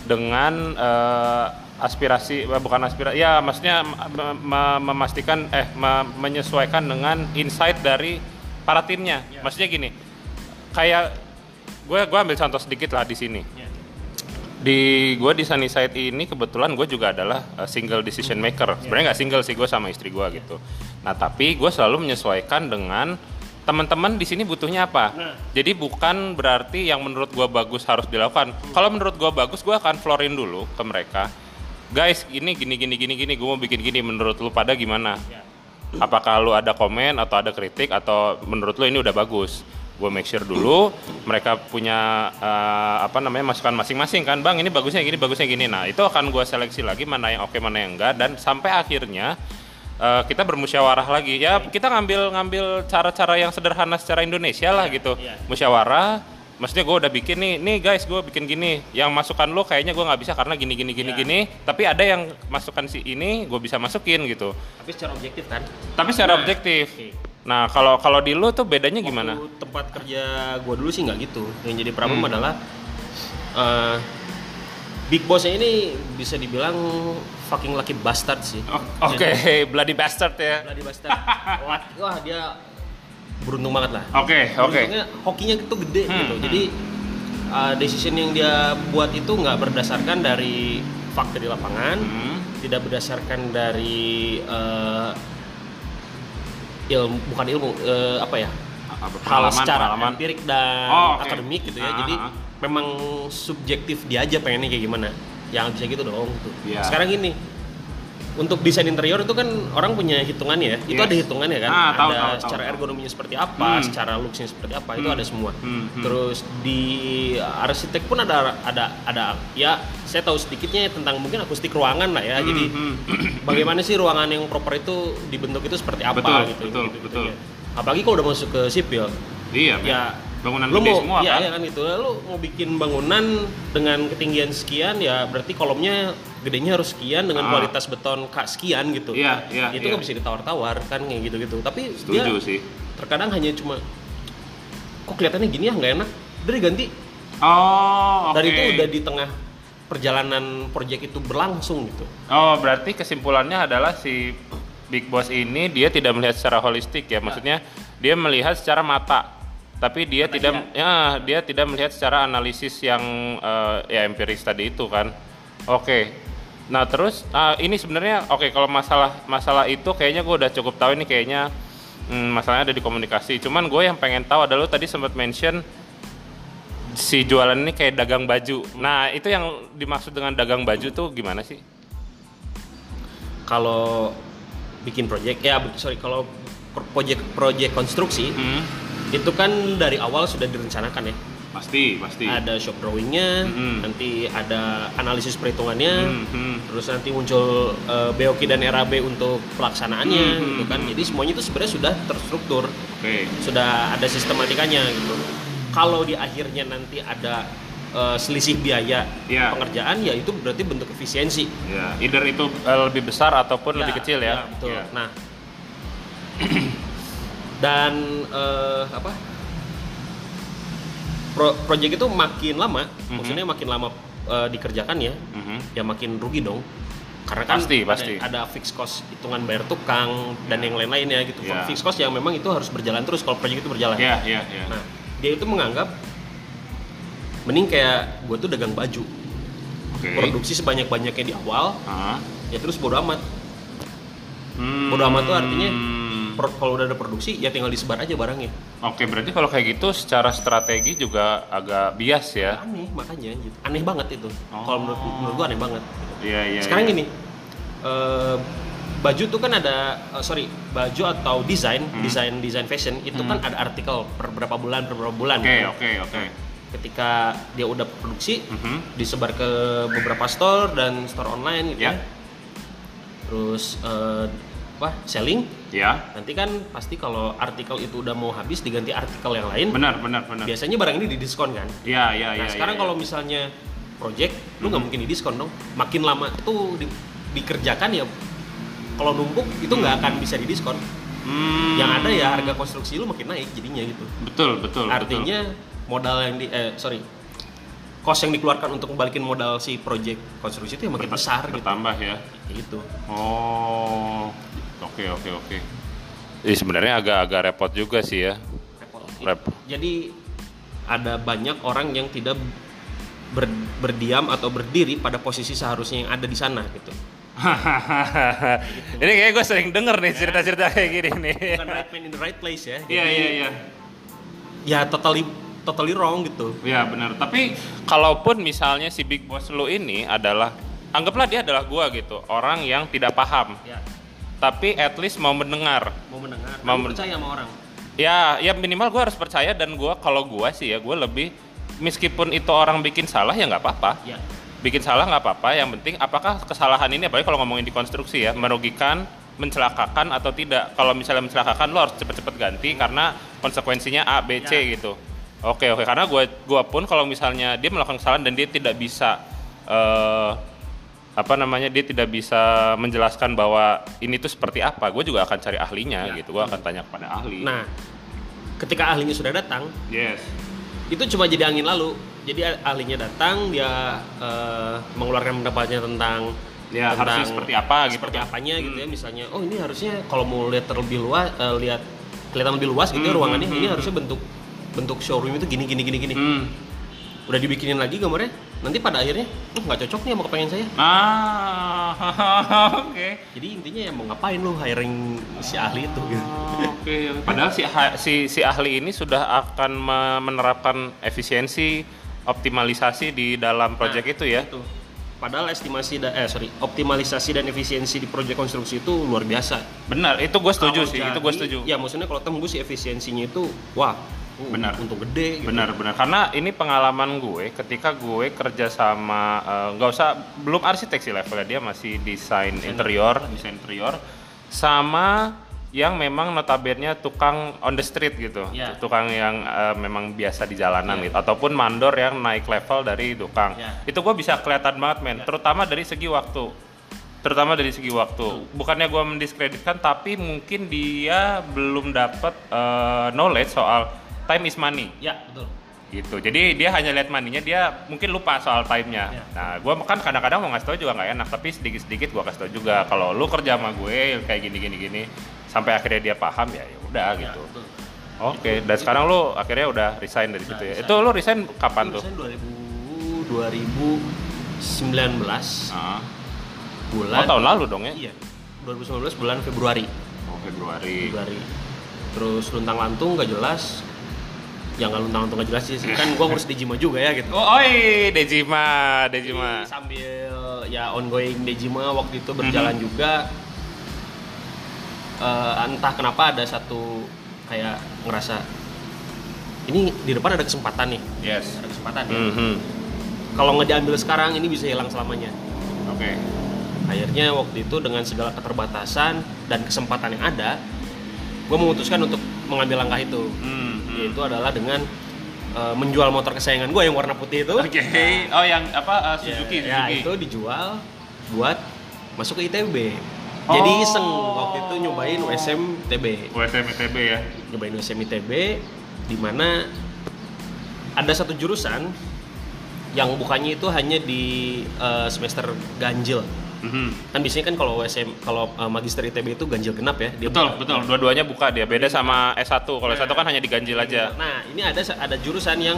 Speaker 1: dengan eh, aspirasi eh, bukan aspirasi ya maksudnya me- me- memastikan eh me- menyesuaikan dengan insight dari para timnya. Maksudnya gini, kayak gue gua ambil contoh sedikit lah di sini di gue di Sunnyside ini kebetulan gue juga adalah uh, single decision maker sebenarnya nggak single sih gue sama istri gue gitu nah tapi gue selalu menyesuaikan dengan teman-teman di sini butuhnya apa
Speaker 2: Nah.
Speaker 1: jadi bukan berarti yang menurut gue bagus harus dilakukan kalau menurut gue bagus gue akan florin dulu ke mereka guys ini gini gini gini gini gue mau bikin gini menurut lu pada gimana apakah lu ada komen atau ada kritik atau menurut lu ini udah bagus gue make sure dulu mereka punya eh, apa namanya masukan masing-masing kan bang ini bagusnya gini bagusnya gini nah itu akan gue seleksi lagi mana yang oke mana yang enggak dan sampai akhirnya eh, kita bermusyawarah lagi ya
Speaker 2: Iya.
Speaker 1: kita ngambil ngambil cara-cara yang sederhana secara Indonesia lah gitu
Speaker 2: iya.
Speaker 1: musyawarah maksudnya gue udah bikin nih nih guys gue bikin gini yang masukan lo kayaknya gue nggak bisa karena gini gini gini
Speaker 2: Iya.
Speaker 1: gini tapi ada yang masukan si ini gue bisa masukin gitu
Speaker 2: Tapi secara objektif kan.
Speaker 1: tapi secara
Speaker 2: Nah,
Speaker 1: objektif.
Speaker 2: oke.
Speaker 1: Nah, kalau kalau di lu tuh bedanya gimana? Hmm.
Speaker 2: Waktu tempat kerja gua dulu sih nggak gitu. Yang jadi problem adalah eh, big bossnya ini bisa dibilang fucking lucky bastard sih.
Speaker 1: O- Oke, bloody bastard ya.
Speaker 2: [LAUGHS] Bloody bastard.
Speaker 1: [LAUGHS]
Speaker 2: Wah, wah, dia beruntung banget lah.
Speaker 1: Oke, oke.
Speaker 2: Beruntungnya hokinya itu gede
Speaker 1: Hmm,
Speaker 2: gitu.
Speaker 1: hmm.
Speaker 2: Jadi uh, decision yang dia buat itu nggak berdasarkan dari fakta di lapangan,
Speaker 1: Hmm.
Speaker 2: tidak berdasarkan dari uh, ilmu bukan ilmu eh, apa ya
Speaker 1: Apa,
Speaker 2: hal
Speaker 1: pengalaman,
Speaker 2: secara
Speaker 1: pengalaman.
Speaker 2: empirik dan
Speaker 1: Oh, oke.
Speaker 2: akademik gitu ya.
Speaker 1: Ah,
Speaker 2: Jadi
Speaker 1: ah, ah.
Speaker 2: memang subjektif dia aja pengennya kayak gimana. Yang bisa gitu dong. Tuh.
Speaker 1: Iya.
Speaker 2: Sekarang gini, untuk desain interior itu kan orang punya hitungannya. Itu
Speaker 1: Yes.
Speaker 2: ada hitungannya kan.
Speaker 1: Ah, tahu,
Speaker 2: ada
Speaker 1: tahu, tahu,
Speaker 2: secara
Speaker 1: tahu.
Speaker 2: ergonominya seperti apa,
Speaker 1: Hmm.
Speaker 2: secara looksnya seperti apa. Itu
Speaker 1: Hmm.
Speaker 2: ada semua.
Speaker 1: Hmm, hmm.
Speaker 2: Terus di arsitek pun ada ada ada ya saya tahu sedikitnya tentang mungkin akustik ruangan lah ya.
Speaker 1: Hmm,
Speaker 2: Jadi
Speaker 1: hmm.
Speaker 2: [CLEARS THROAT] bagaimana sih ruangan yang proper itu dibentuk itu seperti apa
Speaker 1: Betul,
Speaker 2: gitu.
Speaker 1: betul,
Speaker 2: gitu,
Speaker 1: betul.
Speaker 2: ya. Apalagi kalau udah masuk ke sipil
Speaker 1: Iya,
Speaker 2: ya
Speaker 1: bangunan
Speaker 2: lu
Speaker 1: gede
Speaker 2: mau
Speaker 1: semua
Speaker 2: iya,
Speaker 1: kan.
Speaker 2: iya kan gitu lu mau bikin bangunan dengan ketinggian sekian ya berarti kolomnya gedenya harus sekian dengan
Speaker 1: Ah.
Speaker 2: kualitas beton kak sekian gitu
Speaker 1: Iya, iya,
Speaker 2: itu
Speaker 1: iya.
Speaker 2: nggak bisa ditawar-tawar kan kayak gitu-gitu tapi dia
Speaker 1: Setuju sih.
Speaker 2: terkadang hanya cuma kok kelihatannya gini ya nggak enak dari ganti
Speaker 1: Oh, oke.
Speaker 2: dari itu udah di tengah perjalanan proyek itu berlangsung gitu
Speaker 1: Oh, berarti kesimpulannya adalah si Big Boss ini dia tidak melihat secara holistik ya. Maksudnya dia melihat secara mata. Tapi dia tidak ya, dia tidak melihat secara analisis yang eh, ya empiris tadi itu kan. Oke. Nah, terus ah, ini sebenarnya oke kalau masalah masalah itu kayaknya gue udah cukup tahu ini kayaknya hmm, masalahnya ada di komunikasi. Cuman gue yang pengen tahu adalah lu tadi sempat mention si jualan ini kayak dagang baju. Nah, itu yang dimaksud dengan dagang baju tuh gimana sih?
Speaker 2: kalau bikin proyek ya sorry kalau proyek proyek konstruksi
Speaker 1: Hmm,
Speaker 2: itu kan dari awal sudah direncanakan ya
Speaker 1: pasti, pasti.
Speaker 2: ada shop drawingnya,
Speaker 1: Mhm.
Speaker 2: nanti ada analisis perhitungannya,
Speaker 1: Hmm, hmm.
Speaker 2: terus nanti muncul eh, BOK dan RAB untuk pelaksanaannya,
Speaker 1: Mhm.
Speaker 2: gitu kan. Jadi semuanya itu sebenarnya sudah terstruktur,
Speaker 1: Oke.
Speaker 2: sudah ada sistematikanya gitu. Kalau di akhirnya nanti ada eh, selisih biaya
Speaker 1: Iya.
Speaker 2: pengerjaan, ya itu berarti bentuk efisiensi.
Speaker 1: Ya, either itu eh, lebih besar ataupun lebih kecil ya.
Speaker 2: betul.
Speaker 1: Ya.
Speaker 2: Nah, [CLEARS THROAT] dan eh, apa? Pro proyek itu makin lama, maksudnya makin lama eh, dikerjakan ya,
Speaker 1: Mhm.
Speaker 2: ya makin rugi dong. Karena kan
Speaker 1: Pasti,
Speaker 2: ada-
Speaker 1: pasti.
Speaker 2: Ada, fixed cost hitungan bayar tukang dan yang lain-lainnya gitu.
Speaker 1: Ya.
Speaker 2: Fixed cost yang memang itu harus berjalan terus kalau proyek itu berjalan.
Speaker 1: Ya, ya, ya.
Speaker 2: Nah, dia itu menganggap mending kayak gue tuh dagang baju,
Speaker 1: Oke.
Speaker 2: produksi sebanyak-banyaknya di awal,
Speaker 1: Ah.
Speaker 2: ya terus bodo amat
Speaker 1: Hmm.
Speaker 2: Bodo amat tuh artinya Pro- kalau udah ada produksi ya tinggal disebar aja barangnya
Speaker 1: Oke, berarti kalau kayak gitu secara strategi juga agak bias ya.
Speaker 2: aneh makanya gitu aneh banget itu
Speaker 1: Oh.
Speaker 2: kalau menurut menurut gua aneh banget
Speaker 1: Iya, iya.
Speaker 2: sekarang
Speaker 1: iya.
Speaker 2: gini eh, baju tuh kan ada eh, sorry baju atau desain
Speaker 1: Hmm.
Speaker 2: desain desain fashion itu kan ada artikel per berapa bulan per berapa bulan
Speaker 1: Oke,
Speaker 2: kan.
Speaker 1: oke, oke.
Speaker 2: ketika dia udah produksi
Speaker 1: Mhm.
Speaker 2: disebar ke beberapa store dan store online gitu
Speaker 1: Ya.
Speaker 2: ya terus eh, apa selling
Speaker 1: Ya.
Speaker 2: nanti kan pasti kalau artikel itu udah mau habis diganti artikel yang lain
Speaker 1: Benar, benar, benar.
Speaker 2: biasanya barang ini didiskon kan
Speaker 1: Iya, iya, iya.
Speaker 2: nah sekarang
Speaker 1: iya, Hmm.
Speaker 2: kalau
Speaker 1: iya.
Speaker 2: misalnya project lu nggak mungkin didiskon dong makin lama tuh di- dikerjakan ya kalau numpuk itu nggak akan bisa didiskon
Speaker 1: Hmm,
Speaker 2: yang ada ya harga konstruksi lu makin naik jadinya gitu
Speaker 1: betul, betul,
Speaker 2: artinya modal yang di eh sorry cost yang dikeluarkan untuk membalikin modal si project konstruksi itu ya makin
Speaker 1: betul.
Speaker 2: besar gitu
Speaker 1: bertambah ya.
Speaker 2: gitu
Speaker 1: Oh, oke oke oke. Ini sebenarnya agak-agak repot juga [LAUGHS] sih ya.
Speaker 2: Repot.
Speaker 1: Repot.
Speaker 2: jadi ada banyak orang yang tidak ber- berdiam atau berdiri pada posisi seharusnya yang ada di sana gitu
Speaker 1: Ini kayak gue sering denger nih cerita-cerita kayak gini nih.
Speaker 2: bukan right man in the right place ya.
Speaker 1: Iya iya iya.
Speaker 2: Ya totally totally wrong gitu.
Speaker 1: Iya benar. Tapi kalaupun misalnya si big boss lu ini adalah anggaplah dia adalah gua gitu, orang yang tidak paham,
Speaker 2: Ya,
Speaker 1: tapi at least mau mendengar.
Speaker 2: mau mendengar,
Speaker 1: Mau
Speaker 2: kamu
Speaker 1: men-
Speaker 2: percaya sama orang.
Speaker 1: Ya, ya minimal gua harus percaya dan gua kalau gua sih ya gua lebih meskipun itu orang bikin salah ya nggak apa-apa.
Speaker 2: Ya.
Speaker 1: bikin salah nggak apa-apa yang penting apakah kesalahan ini apalagi kalau ngomongin di konstruksi ya merugikan mencelakakan atau tidak kalau misalnya mencelakakan lo harus cepet-cepet ganti karena konsekuensinya A B C
Speaker 2: Ya.
Speaker 1: gitu oke oke karena gua gua pun kalau misalnya dia melakukan kesalahan dan dia tidak bisa eh apa namanya dia tidak bisa menjelaskan bahwa ini tuh seperti apa gue juga akan cari ahlinya gitu gue akan tanya kepada ahli
Speaker 2: Ya. Nah, ketika ahlinya sudah datang,
Speaker 1: yes
Speaker 2: itu cuma jadi angin lalu. Jadi ah- ahlinya datang, dia eh, mengeluarkan pendapatnya tentang
Speaker 1: Ya,
Speaker 2: tentang
Speaker 1: harusnya seperti apa gitu.
Speaker 2: Seperti apanya gitu ya, misalnya, oh ini harusnya kalau mau lihat terlebih luas, eh, lihat
Speaker 1: Hmm,
Speaker 2: kelihatan lebih luas gitu ya ruangannya, ini harusnya bentuk bentuk showroom itu gini gini gini gini.
Speaker 1: hmm.
Speaker 2: udah dibikinin lagi gambarnya nanti pada akhirnya "Eh, nggak cocok nih sama kepengen saya
Speaker 1: Ah, [LAUGHS] oke.
Speaker 2: jadi intinya ya mau ngapain lu hiring si ahli itu gitu
Speaker 1: Oke, padahal si, ha- si si ahli ini sudah akan me- menerapkan efisiensi optimalisasi di dalam proyek itu ya.
Speaker 2: Itu. padahal estimasi da- eh sorry optimalisasi dan efisiensi di proyek konstruksi itu luar biasa
Speaker 1: Benar, itu gue setuju
Speaker 2: Kalau
Speaker 1: sih,
Speaker 2: jadi-
Speaker 1: itu gue setuju.
Speaker 2: ya maksudnya kalau tembus si efisiensinya itu wah uh,
Speaker 1: Benar.
Speaker 2: untung gede gitu.
Speaker 1: Benar, benar. Karena ini pengalaman gue ketika gue kerja sama eh, nggak usah belum arsitek sih levelnya dia masih desain interior, desain interior sama yang memang notabene tukang on the street gitu.
Speaker 2: Iya.
Speaker 1: Tukang yang eh, memang biasa di jalanan
Speaker 2: Iya.
Speaker 1: gitu ataupun mandor yang naik level dari tukang.
Speaker 2: Iya.
Speaker 1: Itu gue bisa kelihatan banget men, terutama dari segi waktu. Terutama dari segi waktu. Bukannya gue mendiskreditkan tapi mungkin dia belum dapat eh, knowledge soal time is money
Speaker 2: ya betul
Speaker 1: gitu jadi dia hanya lihat maninya dia mungkin lupa soal time-nya
Speaker 2: Iya.
Speaker 1: nah gue kan kadang-kadang mau ngasih tau juga nggak enak tapi sedikit-sedikit gue kasih tau juga kalau lu kerja sama gue kayak gini-gini gini sampai akhirnya dia paham ya ya udah
Speaker 2: Ya,
Speaker 1: gitu
Speaker 2: betul.
Speaker 1: oke dan sekarang lu akhirnya udah resign dari
Speaker 2: Nah,
Speaker 1: situ ya
Speaker 2: resign.
Speaker 1: itu lu resign kapan tuh
Speaker 2: Lulusan 2000 2019
Speaker 1: Ah.
Speaker 2: bulan
Speaker 1: oh tahun lalu dong ya
Speaker 2: Iya. 2019 bulan Februari.
Speaker 1: oh Februari
Speaker 2: Februari. Terus luntang lantung nggak jelas. Ya nggak luntang lantung nggak jelas sih. Kan gua ngurus Dejima juga ya gitu.
Speaker 1: oh oi Dejima Dejima
Speaker 2: Sambil ya ongoing Dejima waktu itu
Speaker 1: Mhm.
Speaker 2: berjalan juga. eh, entah kenapa ada satu kayak ngerasa ini di depan ada kesempatan nih.
Speaker 1: yes
Speaker 2: Ada kesempatan ya.
Speaker 1: Mhm.
Speaker 2: Kalau nggak diambil sekarang ini bisa hilang selamanya.
Speaker 1: oke
Speaker 2: Akhirnya waktu itu dengan segala keterbatasan dan kesempatan yang ada, gue memutuskan untuk mengambil langkah itu.
Speaker 1: Mhm.
Speaker 2: Yaitu adalah dengan eh, menjual motor kesayangan gue yang warna putih itu.
Speaker 1: oke oh yang apa eh,
Speaker 2: Ya,
Speaker 1: Suzuki
Speaker 2: Ya,
Speaker 1: Suzuki
Speaker 2: itu dijual buat masuk ke ITB. Jadi
Speaker 1: Oh.
Speaker 2: iseng waktu itu nyobain USM ITB.
Speaker 1: USM ITB ya
Speaker 2: Nyobain USM ITB di mana ada satu jurusan yang bukannya itu hanya di eh, semester ganjil.
Speaker 1: Mhm.
Speaker 2: kan biasanya kan kalau USM kalau uh, magister ITB itu ganjil genap ya dia
Speaker 1: Betul, betul. Dua-duanya buka dia. Beda sama S1. Kalau S1 kan hanya diganjil aja.
Speaker 2: nah ini ada ada jurusan yang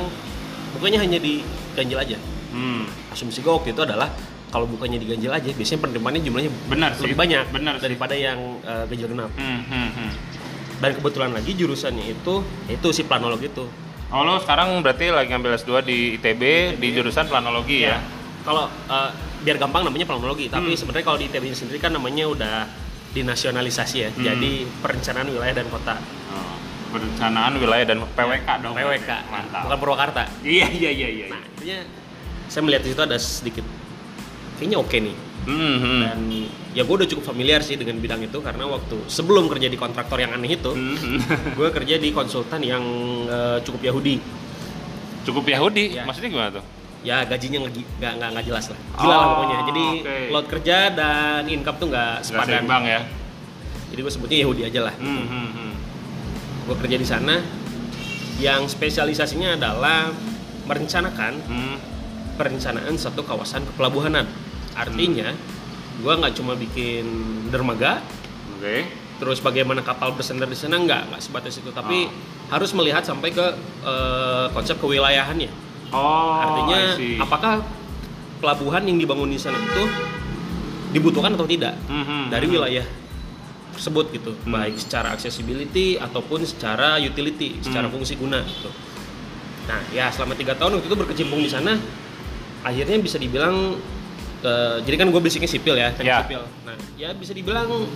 Speaker 2: bukannya hanya di ganjil aja
Speaker 1: Hmm.
Speaker 2: asumsi gue waktu itu adalah kalau bukannya di ganjil aja biasanya penerimaannya jumlahnya
Speaker 1: Benar sih.
Speaker 2: lebih banyak
Speaker 1: Benar sih.
Speaker 2: daripada yang uh, ganjil genap
Speaker 1: Hmm, hmm, hmm.
Speaker 2: dan kebetulan lagi jurusannya itu itu si planolog itu
Speaker 1: Oh, lo sekarang berarti lagi ngambil S2 di ITB di jurusan planologi ya.
Speaker 2: kalau uh, biar gampang namanya planologi tapi
Speaker 1: Hmm.
Speaker 2: sebenarnya kalau di ITB sendiri kan namanya udah dinasionalisasi ya
Speaker 1: Hmm.
Speaker 2: jadi perencanaan wilayah dan kota
Speaker 1: Oh, Perencanaan wilayah dan PWK dong.
Speaker 2: PWK
Speaker 1: Mantap.
Speaker 2: bukan Purwakarta
Speaker 1: Iya, iya, iya, iya.
Speaker 2: Nah, intinya saya melihat di situ ada sedikit kayaknya oke nih.
Speaker 1: Hmm, hmm. [LAUGHS]
Speaker 2: Dan ya gue udah cukup familiar sih dengan bidang itu karena waktu sebelum kerja di kontraktor yang aneh itu,
Speaker 1: Hmm, hmm.
Speaker 2: gue kerja di konsultan yang eh, cukup Yahudi.
Speaker 1: Cukup Yahudi.
Speaker 2: Iya.
Speaker 1: Maksudnya gimana tuh?
Speaker 2: Ya gajinya nggak gi- nggak nggak nggak jelas lah, gila lah
Speaker 1: Oh,
Speaker 2: pokoknya. Jadi
Speaker 1: oke.
Speaker 2: load kerja dan income tuh nggak
Speaker 1: Nggak
Speaker 2: sepadan.
Speaker 1: seimbang ya.
Speaker 2: Jadi gue sebutnya Yahudi aja lah.
Speaker 1: Hmm, hmm, hmm.
Speaker 2: Gue kerja di sana yang spesialisasinya adalah merencanakan
Speaker 1: Hmm.
Speaker 2: perencanaan satu kawasan kepelabuhanan. Artinya, gua nggak cuma bikin dermaga,
Speaker 1: Oke.
Speaker 2: terus bagaimana kapal bersandar di sana nggak, nggak sebatas itu. Tapi
Speaker 1: Ah.
Speaker 2: harus melihat sampai ke eh, konsep kewilayahannya.
Speaker 1: Oh, I
Speaker 2: Artinya,
Speaker 1: see.
Speaker 2: apakah pelabuhan yang dibangun di sana itu dibutuhkan atau tidak
Speaker 1: Hmm, hmm,
Speaker 2: dari
Speaker 1: hmm.
Speaker 2: wilayah tersebut gitu,
Speaker 1: Hmm.
Speaker 2: baik secara accessibility ataupun secara utility, secara
Speaker 1: Hmm.
Speaker 2: fungsi guna gitu. Nah, ya selama tiga tahun waktu itu berkecimpung di sana, akhirnya bisa dibilang, eh, jadi kan gue basicnya sipil ya, teknik
Speaker 1: Ya.
Speaker 2: sipil. Nah, ya bisa dibilang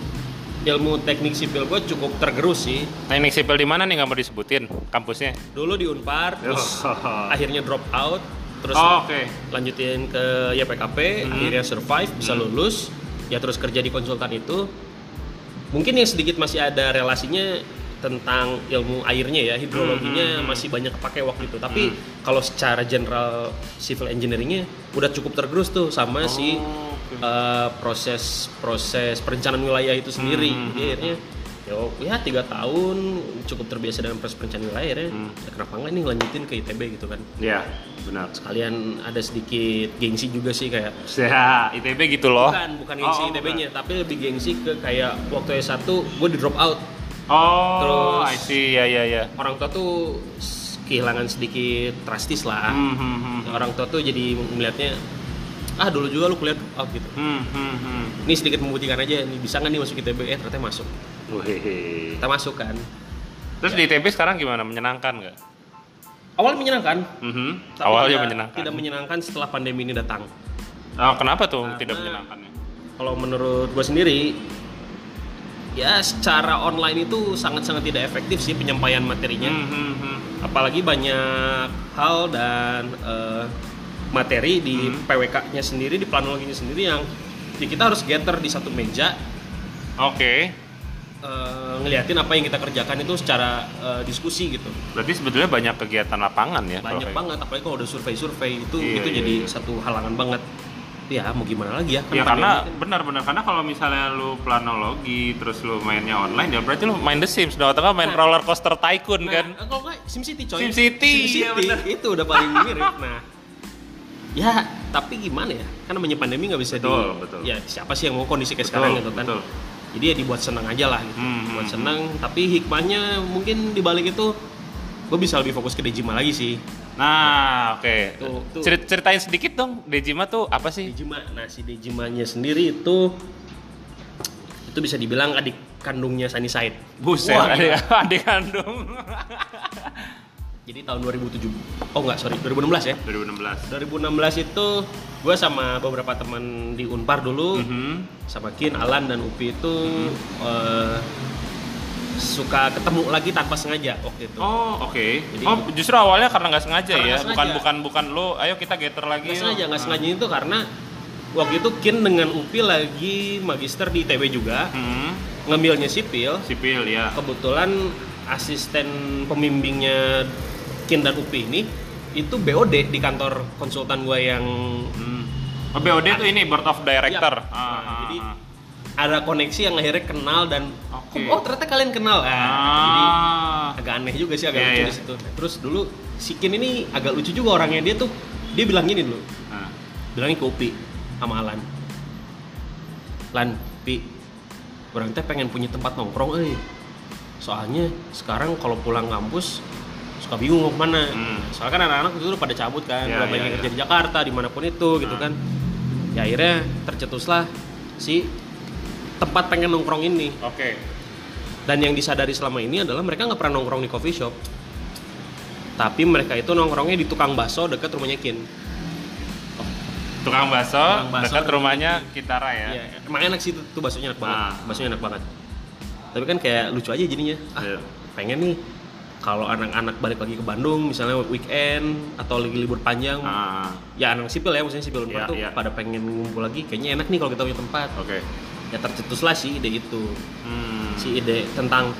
Speaker 2: ilmu teknik sipil gue cukup tergerus sih.
Speaker 1: Teknik sipil di mana nih nggak mau disebutin kampusnya?
Speaker 2: Dulu di Unpar, terus
Speaker 1: [LAUGHS] Ah,
Speaker 2: akhirnya drop out, terus
Speaker 1: Oh, oke.
Speaker 2: lanjutin ke ya, YPKP,
Speaker 1: Hmm.
Speaker 2: akhirnya survive, bisa lulus, ya terus kerja di konsultan itu. Mungkin yang sedikit masih ada relasinya tentang ilmu airnya ya, hidrologinya
Speaker 1: Hmm, hmm, hmm.
Speaker 2: masih banyak kepake waktu itu. Tapi kalau secara general civil engineeringnya udah cukup tergerus tuh sama si
Speaker 1: oke.
Speaker 2: eh, proses proses perencanaan wilayah itu sendiri.
Speaker 1: Hmm, hmm,
Speaker 2: Jadi akhirnya ya, ya tiga tahun cukup terbiasa dengan proses perencanaan wilayah akhirnya,
Speaker 1: Hmm.
Speaker 2: ya kenapa enggak nih lanjutin ke ITB gitu kan
Speaker 1: Iya, benar.
Speaker 2: sekalian ada sedikit gengsi juga sih kayak
Speaker 1: Ya, ITB gitu loh.
Speaker 2: bukan bukan gengsi
Speaker 1: Oh, oh,
Speaker 2: ITB-nya tapi lebih gengsi ke kayak waktu S1 gue di drop out
Speaker 1: Oh, I
Speaker 2: Terus-
Speaker 1: see. Ya, ya, ya.
Speaker 2: orang tua tuh s- kehilangan sedikit drastis lah.
Speaker 1: Hmm, hmm, hmm.
Speaker 2: Orang tua tuh jadi melihatnya ah dulu juga lu kuliah drop out gitu.
Speaker 1: Hmm, hmm, hmm.
Speaker 2: Ini sedikit membuktikan aja, ini bisa nggak nih masuk ITB? Eh ternyata masuk.
Speaker 1: Wih.
Speaker 2: Kita masuk kan.
Speaker 1: Terus di ITB sekarang gimana? Menyenangkan nggak?
Speaker 2: Awal menyenangkan.
Speaker 1: Mhm.
Speaker 2: tapi
Speaker 1: Awalnya
Speaker 2: tidak-
Speaker 1: menyenangkan.
Speaker 2: Tidak menyenangkan setelah pandemi ini datang.
Speaker 1: Ah, kenapa tuh
Speaker 2: Karena- ya.
Speaker 1: tidak ya? menyenangkannya?
Speaker 2: Kalau menurut gue sendiri, ya secara online itu sangat-sangat tidak efektif sih penyampaian materinya.
Speaker 1: Hmm, hmm, hmm.
Speaker 2: apalagi banyak hal dan eh, materi di
Speaker 1: Hmm.
Speaker 2: PWK-nya sendiri di planologinya sendiri yang ya kita harus gather di satu meja
Speaker 1: Oke.
Speaker 2: eh, ngeliatin apa yang kita kerjakan itu secara eh, diskusi gitu
Speaker 1: Berarti sebetulnya banyak kegiatan lapangan ya? kalau
Speaker 2: banyak
Speaker 1: kayak-
Speaker 2: banget apalagi kalau udah survei-survei itu
Speaker 1: Iya,
Speaker 2: itu
Speaker 1: iya,
Speaker 2: jadi
Speaker 1: iya.
Speaker 2: satu halangan banget ya mau gimana lagi ya kan
Speaker 1: Ya
Speaker 2: pandemi
Speaker 1: karena
Speaker 2: kan.
Speaker 1: benar-benar karena kalau misalnya lu planologi terus lu mainnya online ya berarti lu main The Sims dong atau nggak main
Speaker 2: Nah.
Speaker 1: roller coaster tycoon
Speaker 2: Nah,
Speaker 1: kan?
Speaker 2: kalau nggak SimCity coy
Speaker 1: SimCity,
Speaker 2: SimCity,
Speaker 1: iya bener.
Speaker 2: itu udah paling mirip nah ya tapi gimana ya kan namanya pandemi nggak bisa
Speaker 1: Betul,
Speaker 2: di
Speaker 1: betul.
Speaker 2: ya siapa sih yang mau kondisi kayak sekarang gitu kan
Speaker 1: betul.
Speaker 2: jadi ya dibuat senang aja lah gitu
Speaker 1: Hmm,
Speaker 2: buat
Speaker 1: hmm,
Speaker 2: senang tapi hikmahnya mungkin dibalik itu gue bisa lebih fokus ke Dejima lagi sih
Speaker 1: Nah, oke.
Speaker 2: Tuh, tuh.
Speaker 1: Cerit- Ceritain sedikit dong Dejima tuh apa sih?
Speaker 2: Dejima nah si Dejimanya sendiri itu itu bisa dibilang adik kandungnya Sunny Side
Speaker 1: Buset,
Speaker 2: Wah,
Speaker 1: adik,
Speaker 2: gila.
Speaker 1: iya, [LAUGHS] adik kandung.
Speaker 2: jadi tahun 2007 oh enggak sorry 2016 ya
Speaker 1: 2016.
Speaker 2: 2016 itu gue sama beberapa teman di Unpar dulu
Speaker 1: Mhm.
Speaker 2: sama Kin, Alan dan Upi itu eh, suka ketemu lagi tanpa sengaja waktu itu.
Speaker 1: Oh, oke.
Speaker 2: Jadi-
Speaker 1: Oh, justru awalnya karena nggak sengaja
Speaker 2: Karena
Speaker 1: ya.
Speaker 2: nggak
Speaker 1: Bukan
Speaker 2: sengaja.
Speaker 1: bukan bukan lu ayo kita getter lagi.
Speaker 2: nggak
Speaker 1: yuk.
Speaker 2: sengaja, nggak
Speaker 1: Ah.
Speaker 2: sengaja itu karena waktu itu Kin dengan Upi lagi magister di ITB juga,
Speaker 1: Mhm.
Speaker 2: ngambilnya sipil.
Speaker 1: Sipil ya.
Speaker 2: Kebetulan asisten pembimbingnya Kin dan Upi ini itu BOD di kantor konsultan gua yang
Speaker 1: Hmm. Oh, BOD tuh ini Board of Director.
Speaker 2: Yap.
Speaker 1: Ah,
Speaker 2: Nah,
Speaker 1: ah,
Speaker 2: jadi
Speaker 1: ah.
Speaker 2: ada koneksi yang akhirnya kenal dan
Speaker 1: Oke.
Speaker 2: oh ternyata kalian kenal. Nah, jadi
Speaker 1: Ah.
Speaker 2: agak aneh juga sih agak
Speaker 1: Iya,
Speaker 2: lucu
Speaker 1: iya.
Speaker 2: di situ. Terus dulu si Kin ini agak lucu juga orangnya dia tuh dia bilang gini dulu,
Speaker 1: Ah.
Speaker 2: bilangnya ke Upi sama Alan. Lan, Pi, orang teh pengen punya tempat nongkrong euy. Soalnya sekarang kalau pulang kampus suka bingung mau kemana.
Speaker 1: Hmm.
Speaker 2: Soalnya kan anak-anak itu udah pada cabut kan,
Speaker 1: Iya,
Speaker 2: udah banyak
Speaker 1: iya,
Speaker 2: yang
Speaker 1: iya.
Speaker 2: kerja di Jakarta dimanapun itu gitu kan. Ya akhirnya tercetuslah si tempat pengen nongkrong ini.
Speaker 1: Oke.
Speaker 2: Dan yang disadari selama ini adalah mereka nggak pernah nongkrong di coffee shop. Tapi mereka itu nongkrongnya di tukang bakso dekat rumahnya Kin.
Speaker 1: Tukang bakso,
Speaker 2: Tukang bakso
Speaker 1: dekat
Speaker 2: dekat
Speaker 1: rumahnya Kitara ya.
Speaker 2: Iya, emang enak sih tuh, tuh baksonya enak banget.
Speaker 1: Ah.
Speaker 2: Baksonya enak banget. Tapi kan kayak lucu aja jadinya. Ah,
Speaker 1: Iya.
Speaker 2: pengen nih kalau anak-anak balik lagi ke Bandung misalnya weekend atau lagi libur panjang.
Speaker 1: Ah,
Speaker 2: Ya anak sipil ya maksudnya sipil
Speaker 1: Iya,
Speaker 2: Unpar tuh
Speaker 1: iya.
Speaker 2: pada pengen ngumpul lagi kayaknya enak nih kalau kita punya tempat.
Speaker 1: oke.
Speaker 2: Ya tercetuslah sih ide itu.
Speaker 1: Hmm.
Speaker 2: Si ide tentang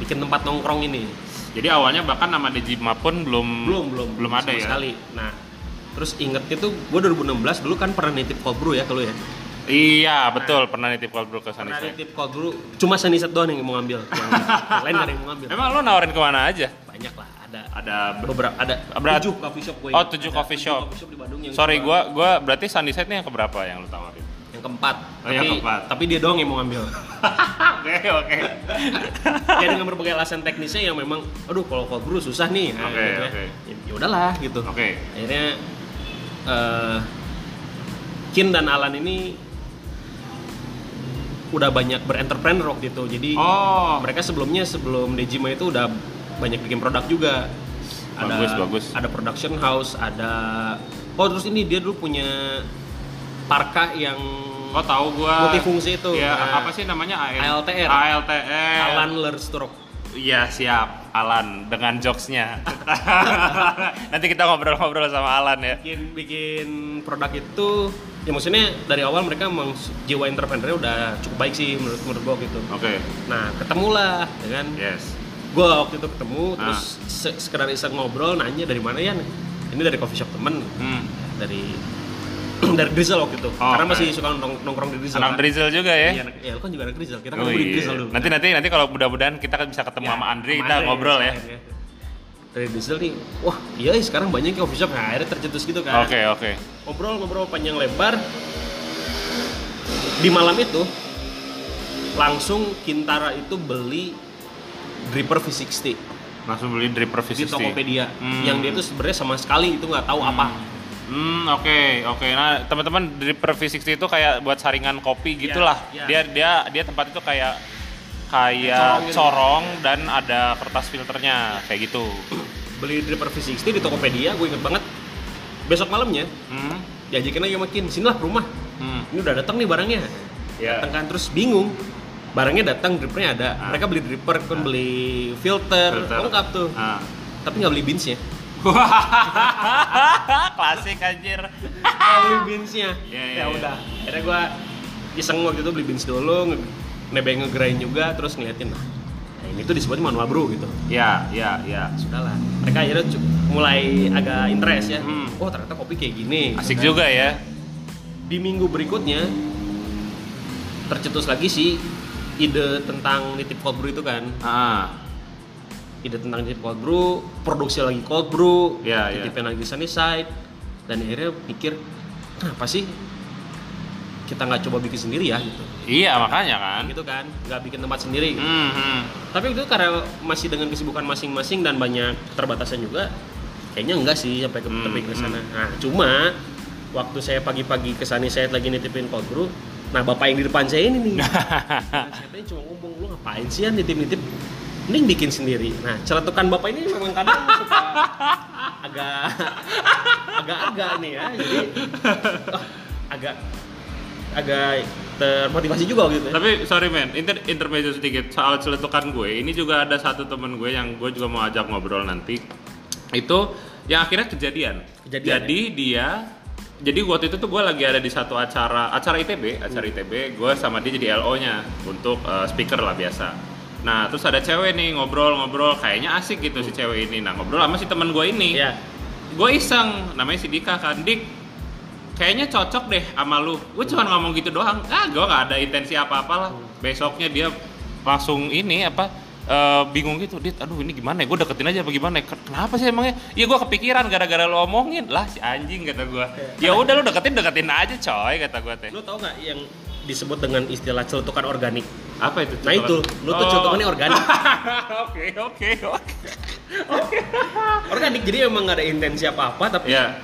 Speaker 2: bikin tempat nongkrong ini.
Speaker 1: Jadi awalnya bahkan nama Dejima pun belum
Speaker 2: belum belum
Speaker 1: belum ada
Speaker 2: sama
Speaker 1: ya.
Speaker 2: sekali nah terus inget itu gue 2016 dulu kan pernah nitip cold brew ya kalau ya
Speaker 1: Iya, betul. Pernah nitip cold brew ke
Speaker 2: pernah
Speaker 1: Sunny
Speaker 2: nitip cold brew cuma saniset doang yang mau ngambil yang yang
Speaker 1: [LAUGHS]
Speaker 2: lain gak ada yang mau ngambil
Speaker 1: Emang lu nawarin kemana aja?
Speaker 2: banyak lah ada
Speaker 1: Ada
Speaker 2: beberapa ada
Speaker 1: Berat-
Speaker 2: tujuh coffee shop gue
Speaker 1: Oh, tujuh coffee shop.
Speaker 2: coffee shop di Bandung yang
Speaker 1: Sorry,
Speaker 2: gua-
Speaker 1: gua gua berarti Sunny Side nih yang keberapa yang lu tawarin?
Speaker 2: yang keempat
Speaker 1: Oh, yang keempat.
Speaker 2: tapi dia doang yang mau
Speaker 1: [LAUGHS]
Speaker 2: ngambil
Speaker 1: Oke, oke.
Speaker 2: ya dengan berbagai alasan teknisnya yang memang aduh kalau cold brew susah nih Nah,
Speaker 1: Oke,
Speaker 2: gitu ya.
Speaker 1: oke.
Speaker 2: ya ya udahlah gitu
Speaker 1: Oke.
Speaker 2: akhirnya eh, Kin dan Alan ini udah banyak berentrepreneur waktu itu jadi
Speaker 1: Oh,
Speaker 2: mereka sebelumnya sebelum Dejima itu udah banyak bikin produk juga ada
Speaker 1: Bagus, bagus.
Speaker 2: ada production house ada oh terus ini dia dulu punya parka yang
Speaker 1: Oh tahu gua.
Speaker 2: Multifungsi itu.
Speaker 1: Ya,
Speaker 2: Nah.
Speaker 1: apa sih namanya? AM?
Speaker 2: ALTR.
Speaker 1: ALTR.
Speaker 2: Alan Lerstrok
Speaker 1: Iya, siap. Alan dengan
Speaker 2: [LAUGHS]
Speaker 1: jokesnya. Nanti kita ngobrol-ngobrol sama Alan ya.
Speaker 2: bikin bikin produk itu ya maksudnya dari awal mereka emang jiwa entrepreneur udah cukup baik sih menurut menurut gua gitu
Speaker 1: Oke.
Speaker 2: nah ketemulah ya kan
Speaker 1: Yes.
Speaker 2: gue waktu itu ketemu terus
Speaker 1: Ah.
Speaker 2: se- sekedar iseng ngobrol nanya dari mana ya ini dari coffee shop temen
Speaker 1: Hmm.
Speaker 2: dari [CLEARS THROAT] dari Drizzle waktu itu
Speaker 1: Oh,
Speaker 2: karena
Speaker 1: oke.
Speaker 2: masih suka nongkrong, nongkrong di Drizzle
Speaker 1: Anak
Speaker 2: kan?
Speaker 1: Drizzle juga
Speaker 2: Iya,
Speaker 1: ya.
Speaker 2: anak- ya lu kan juga anak Drizzle kita kan
Speaker 1: Oh,
Speaker 2: di
Speaker 1: iya.
Speaker 2: Drizzle dulu
Speaker 1: Nanti nanti nanti kalau mudah-mudahan kita kan bisa ketemu
Speaker 2: Ya,
Speaker 1: sama Andre,
Speaker 2: sama
Speaker 1: kita ngobrol ya.
Speaker 2: sekalian dari Drizzle nih wah iya ya, sekarang banyak coffee shop nah, akhirnya tercetus gitu kan
Speaker 1: Oke, oke.
Speaker 2: ngobrol ngobrol panjang lebar di malam itu langsung Kintara itu beli Gripper V60
Speaker 1: langsung beli Dripper
Speaker 2: di
Speaker 1: V60
Speaker 2: Tokopedia
Speaker 1: Hmm.
Speaker 2: yang dia tuh sebenarnya sama sekali itu nggak tahu apa
Speaker 1: Hmm, oke, oke. Nah, teman-teman Dripper V60 itu kayak buat saringan kopi gitulah.
Speaker 2: iya.
Speaker 1: Dia dia dia tempat itu kayak kayak
Speaker 2: Corong gitu.
Speaker 1: corong dan ada kertas filternya kayak gitu.
Speaker 2: beli Dripper V60 di Tokopedia gue inget banget besok malamnya
Speaker 1: Hmm.
Speaker 2: diajakin lagi makin sinilah ke rumah
Speaker 1: Hmm.
Speaker 2: ini udah datang nih barangnya
Speaker 1: Ya.
Speaker 2: datang kan terus bingung barangnya datang drippernya ada
Speaker 1: Ah.
Speaker 2: mereka beli dripper kan beli filter,
Speaker 1: Filter.
Speaker 2: lengkap tuh [LAUGHS]
Speaker 1: Ah.
Speaker 2: tapi nggak beli binsnya
Speaker 1: Klasik anjir.
Speaker 2: nggak beli binsnya
Speaker 1: Iya, iya,
Speaker 2: Ah. ya
Speaker 1: iya.
Speaker 2: udah akhirnya gua iseng waktu itu beli bins dulu nge- nebeng ngegrind juga terus ngeliatin nah nah ini tuh disebutnya manual bro gitu
Speaker 1: Ya, ya, ya.
Speaker 2: sudahlah mereka akhirnya cu- mulai agak interest ya
Speaker 1: Hmm.
Speaker 2: oh ternyata kopi kayak gini gitu
Speaker 1: Asik
Speaker 2: kan.
Speaker 1: juga ya.
Speaker 2: di minggu berikutnya tercetus lagi si ide tentang nitip cold brew itu kan
Speaker 1: Ah.
Speaker 2: ide tentang nitip cold brew produksi lagi cold brew
Speaker 1: Iya, iya.
Speaker 2: nitipin lagi sunny side dan akhirnya pikir kenapa sih kita nggak coba bikin sendiri ya gitu
Speaker 1: Iya, makanya kan.
Speaker 2: gitu kan nggak bikin tempat sendiri gitu.
Speaker 1: Hmm, hmm.
Speaker 2: tapi itu karena masih dengan kesibukan masing-masing dan banyak keterbatasan juga kayaknya enggak sih sampai ke
Speaker 1: Hmm,
Speaker 2: tebing ke sana nah cuma waktu saya pagi-pagi ke sana saya lagi nitipin cold brew nah bapak yang di depan saya ini
Speaker 1: [LAUGHS]
Speaker 2: nih saya tanya cuma ngomong lu ngapain sih ya nitip-nitip mending bikin sendiri nah celetukan bapak ini memang kadang suka agak agak-agak nih ya jadi ah, agak agak termotivasi juga gitu ya.
Speaker 1: Tapi sorry men, inter intermezzo sedikit soal celetukan gue. Ini juga ada satu temen gue yang gue juga mau ajak ngobrol nanti. Itu yang akhirnya kejadian.
Speaker 2: Kejadian, ya?
Speaker 1: jadi dia jadi waktu itu tuh gue lagi ada di satu acara acara ITB, acara ITB gue sama dia jadi LO-nya untuk eh, speaker lah biasa. Nah, terus ada cewek nih ngobrol-ngobrol kayaknya asik gitu si cewek ini. Nah, ngobrol sama si temen gue ini
Speaker 2: Iya.
Speaker 1: gue iseng namanya si Dika kan Dik kayaknya cocok deh sama lu gue cuma ngomong gitu doang ah gue nggak ada intensi apa apalah besoknya dia langsung ini apa eh, bingung gitu dit aduh ini gimana ya gue deketin aja apa gimana ya? kenapa sih emangnya ya gue kepikiran gara-gara lu omongin lah si anjing kata gue ya udah lu deketin deketin aja coy kata gue teh
Speaker 2: Lu tau nggak yang disebut dengan istilah celetukan organik?
Speaker 1: apa itu
Speaker 2: Nah itu, lu
Speaker 1: Oh.
Speaker 2: tuh celetukannya organik.
Speaker 1: [LAUGHS] oke oke oke
Speaker 2: Organik jadi emang nggak ada intensi apa-apa, tapi
Speaker 1: ya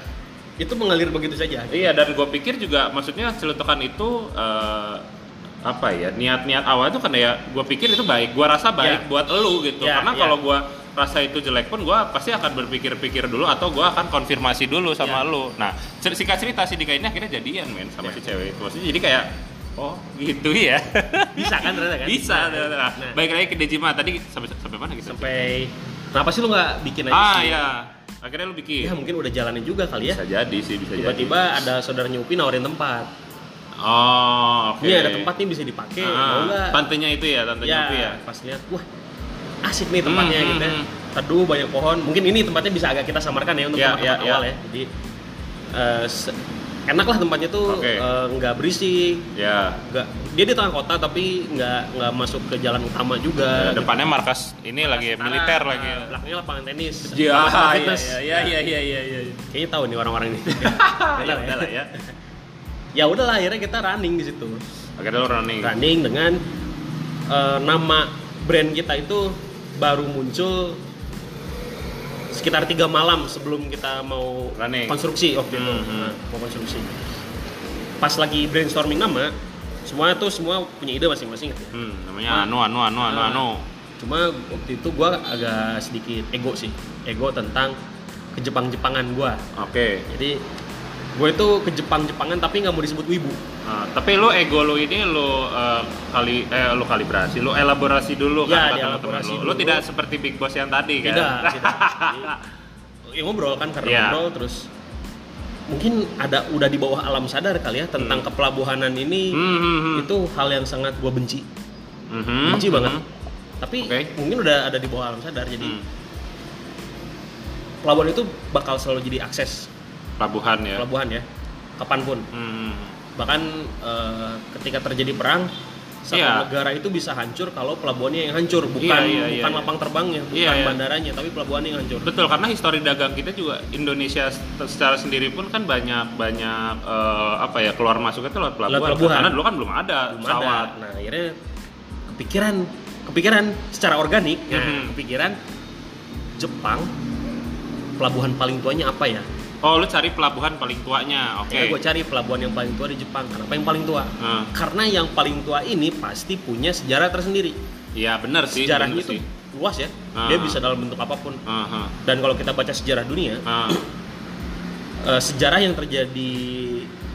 Speaker 2: itu mengalir begitu saja.
Speaker 1: Iya dan gue pikir juga maksudnya celutukan itu eh, apa ya niat-niat awal itu kan ya gue pikir itu baik gue rasa baik
Speaker 2: Ya.
Speaker 1: buat elu gitu
Speaker 2: Ya,
Speaker 1: karena
Speaker 2: ya.
Speaker 1: kalau gue rasa itu jelek pun gue pasti akan berpikir-pikir dulu atau gue akan konfirmasi dulu sama
Speaker 2: Ya.
Speaker 1: lu nah cer- singkat cerita si Dika ini akhirnya jadian men sama
Speaker 2: Ya.
Speaker 1: si cewek itu maksudnya jadi kayak oh gitu ya
Speaker 2: [LAUGHS] Bisa kan ternyata kan?
Speaker 1: bisa nah,
Speaker 2: Nah,
Speaker 1: baik lagi ke Dejima tadi sampai sampai mana gitu
Speaker 2: sampai kenapa sih lu nggak bikin aja?
Speaker 1: ah
Speaker 2: sih?
Speaker 1: ya akhirnya lu bikin
Speaker 2: Ya mungkin udah jalanin juga kali ya.
Speaker 1: bisa jadi sih bisa jadi
Speaker 2: Tiba-tiba ada saudaranya Upi nawarin tempat.
Speaker 1: oh oke
Speaker 2: Ini Iya, ada tempat nih bisa dipakai,
Speaker 1: Ah,
Speaker 2: mau nggak?
Speaker 1: tantenya itu ya, tantenya
Speaker 2: ya,
Speaker 1: itu ya.
Speaker 2: pas lihat, wah asik nih tempatnya
Speaker 1: Hmm,
Speaker 2: gitu ya.
Speaker 1: hmm,
Speaker 2: Teduh banyak pohon. Mungkin ini tempatnya bisa agak kita samarkan ya untuk
Speaker 1: Ya,
Speaker 2: tempat-tempat
Speaker 1: ya, ya.
Speaker 2: awal ya. Jadi eh, se- enak lah tempatnya tuh
Speaker 1: Oke.
Speaker 2: eh, nggak berisik,
Speaker 1: Ya.
Speaker 2: nggak dia di tengah kota tapi nggak nggak masuk ke jalan utama juga.
Speaker 1: Eh,
Speaker 2: gitu.
Speaker 1: depannya markas ini lagi
Speaker 2: Setara,
Speaker 1: Iya, militer
Speaker 2: eh,
Speaker 1: lagi.
Speaker 2: Belakangnya lapangan tenis.
Speaker 1: Ya,
Speaker 2: Lapangan
Speaker 1: iya,
Speaker 2: fitness. Ya,
Speaker 1: iya, iya, iya, iya, iya.
Speaker 2: Kayaknya tahu nih orang-orang
Speaker 1: [LAUGHS]
Speaker 2: ini.
Speaker 1: Ya udah lah ya.
Speaker 2: ya udahlah akhirnya kita running di situ.
Speaker 1: Akhirnya lo running.
Speaker 2: Running dengan eh, nama brand kita itu baru muncul sekitar tiga malam sebelum kita mau
Speaker 1: Running.
Speaker 2: konstruksi waktu itu.
Speaker 1: Hmm, hmm.
Speaker 2: Nah, mau konstruksi. Pas lagi brainstorming nama, semua tuh semua punya ide masing-masing.
Speaker 1: Hmm, namanya Anu, Anu, Anu, Anu,
Speaker 2: Ah.
Speaker 1: Anu.
Speaker 2: Cuma waktu itu gua agak sedikit ego sih, ego tentang kejepang-jepangan gua.
Speaker 1: Oke.
Speaker 2: Jadi gue itu ke Jepang-Jepangan tapi nggak mau disebut wibu.
Speaker 1: Ah, tapi lo ego lo ini lo eh, kali eh lo kalibrasi, lo elaborasi dulu
Speaker 2: Ya,
Speaker 1: kan kata teman
Speaker 2: dielaborasi
Speaker 1: lo. Lo
Speaker 2: dulu.
Speaker 1: tidak seperti Big Boss yang tadi kan?
Speaker 2: Tidak, tidak. Jadi, ya ngobrol kan karena
Speaker 1: Iya.
Speaker 2: ngobrol terus mungkin ada udah di bawah alam sadar kali ya tentang kepelabuhanan
Speaker 1: [LAUGHS]
Speaker 2: ini
Speaker 1: Hmm, hmm, hmm.
Speaker 2: itu hal yang sangat gue benci,
Speaker 1: Mhm,
Speaker 2: benci banget.
Speaker 1: mhm.
Speaker 2: Tapi
Speaker 1: Oke.
Speaker 2: mungkin udah ada di bawah alam sadar jadi
Speaker 1: Hmm.
Speaker 2: pelabuhan itu bakal selalu jadi akses
Speaker 1: Pelabuhan ya.
Speaker 2: pelabuhan ya kapanpun
Speaker 1: Hmm.
Speaker 2: bahkan eh, ketika terjadi perang satu
Speaker 1: Iya.
Speaker 2: negara itu bisa hancur kalau pelabuhannya yang hancur bukan
Speaker 1: Iya, iya, iya,
Speaker 2: bukan
Speaker 1: iya.
Speaker 2: lapang terbangnya bukan
Speaker 1: Iya, iya.
Speaker 2: bandaranya tapi pelabuhannya yang hancur
Speaker 1: Betul, karena histori dagang kita juga Indonesia se- secara sendiri pun kan banyak banyak eh, apa ya keluar masuknya itu lewat pelabuhan.
Speaker 2: Lewat pelabuhan.
Speaker 1: Karena dulu kan belum ada
Speaker 2: Belum ada.
Speaker 1: pesawat.
Speaker 2: nah akhirnya kepikiran kepikiran secara organik nah,
Speaker 1: Mhm.
Speaker 2: kepikiran Jepang pelabuhan paling tuanya apa ya?
Speaker 1: Oh, lu cari pelabuhan paling tuanya. Oke.
Speaker 2: Ya, gue cari pelabuhan yang paling tua di Jepang. Kenapa yang paling tua?
Speaker 1: Ah.
Speaker 2: Karena yang paling tua ini pasti punya sejarah tersendiri.
Speaker 1: Iya, benar sih.
Speaker 2: Sejarahnya
Speaker 1: bener
Speaker 2: itu
Speaker 1: sih.
Speaker 2: luas ya.
Speaker 1: Ah.
Speaker 2: Dia bisa dalam bentuk apapun.
Speaker 1: Aha.
Speaker 2: Dan kalau kita baca sejarah dunia,
Speaker 1: Ah,
Speaker 2: eh, sejarah yang terjadi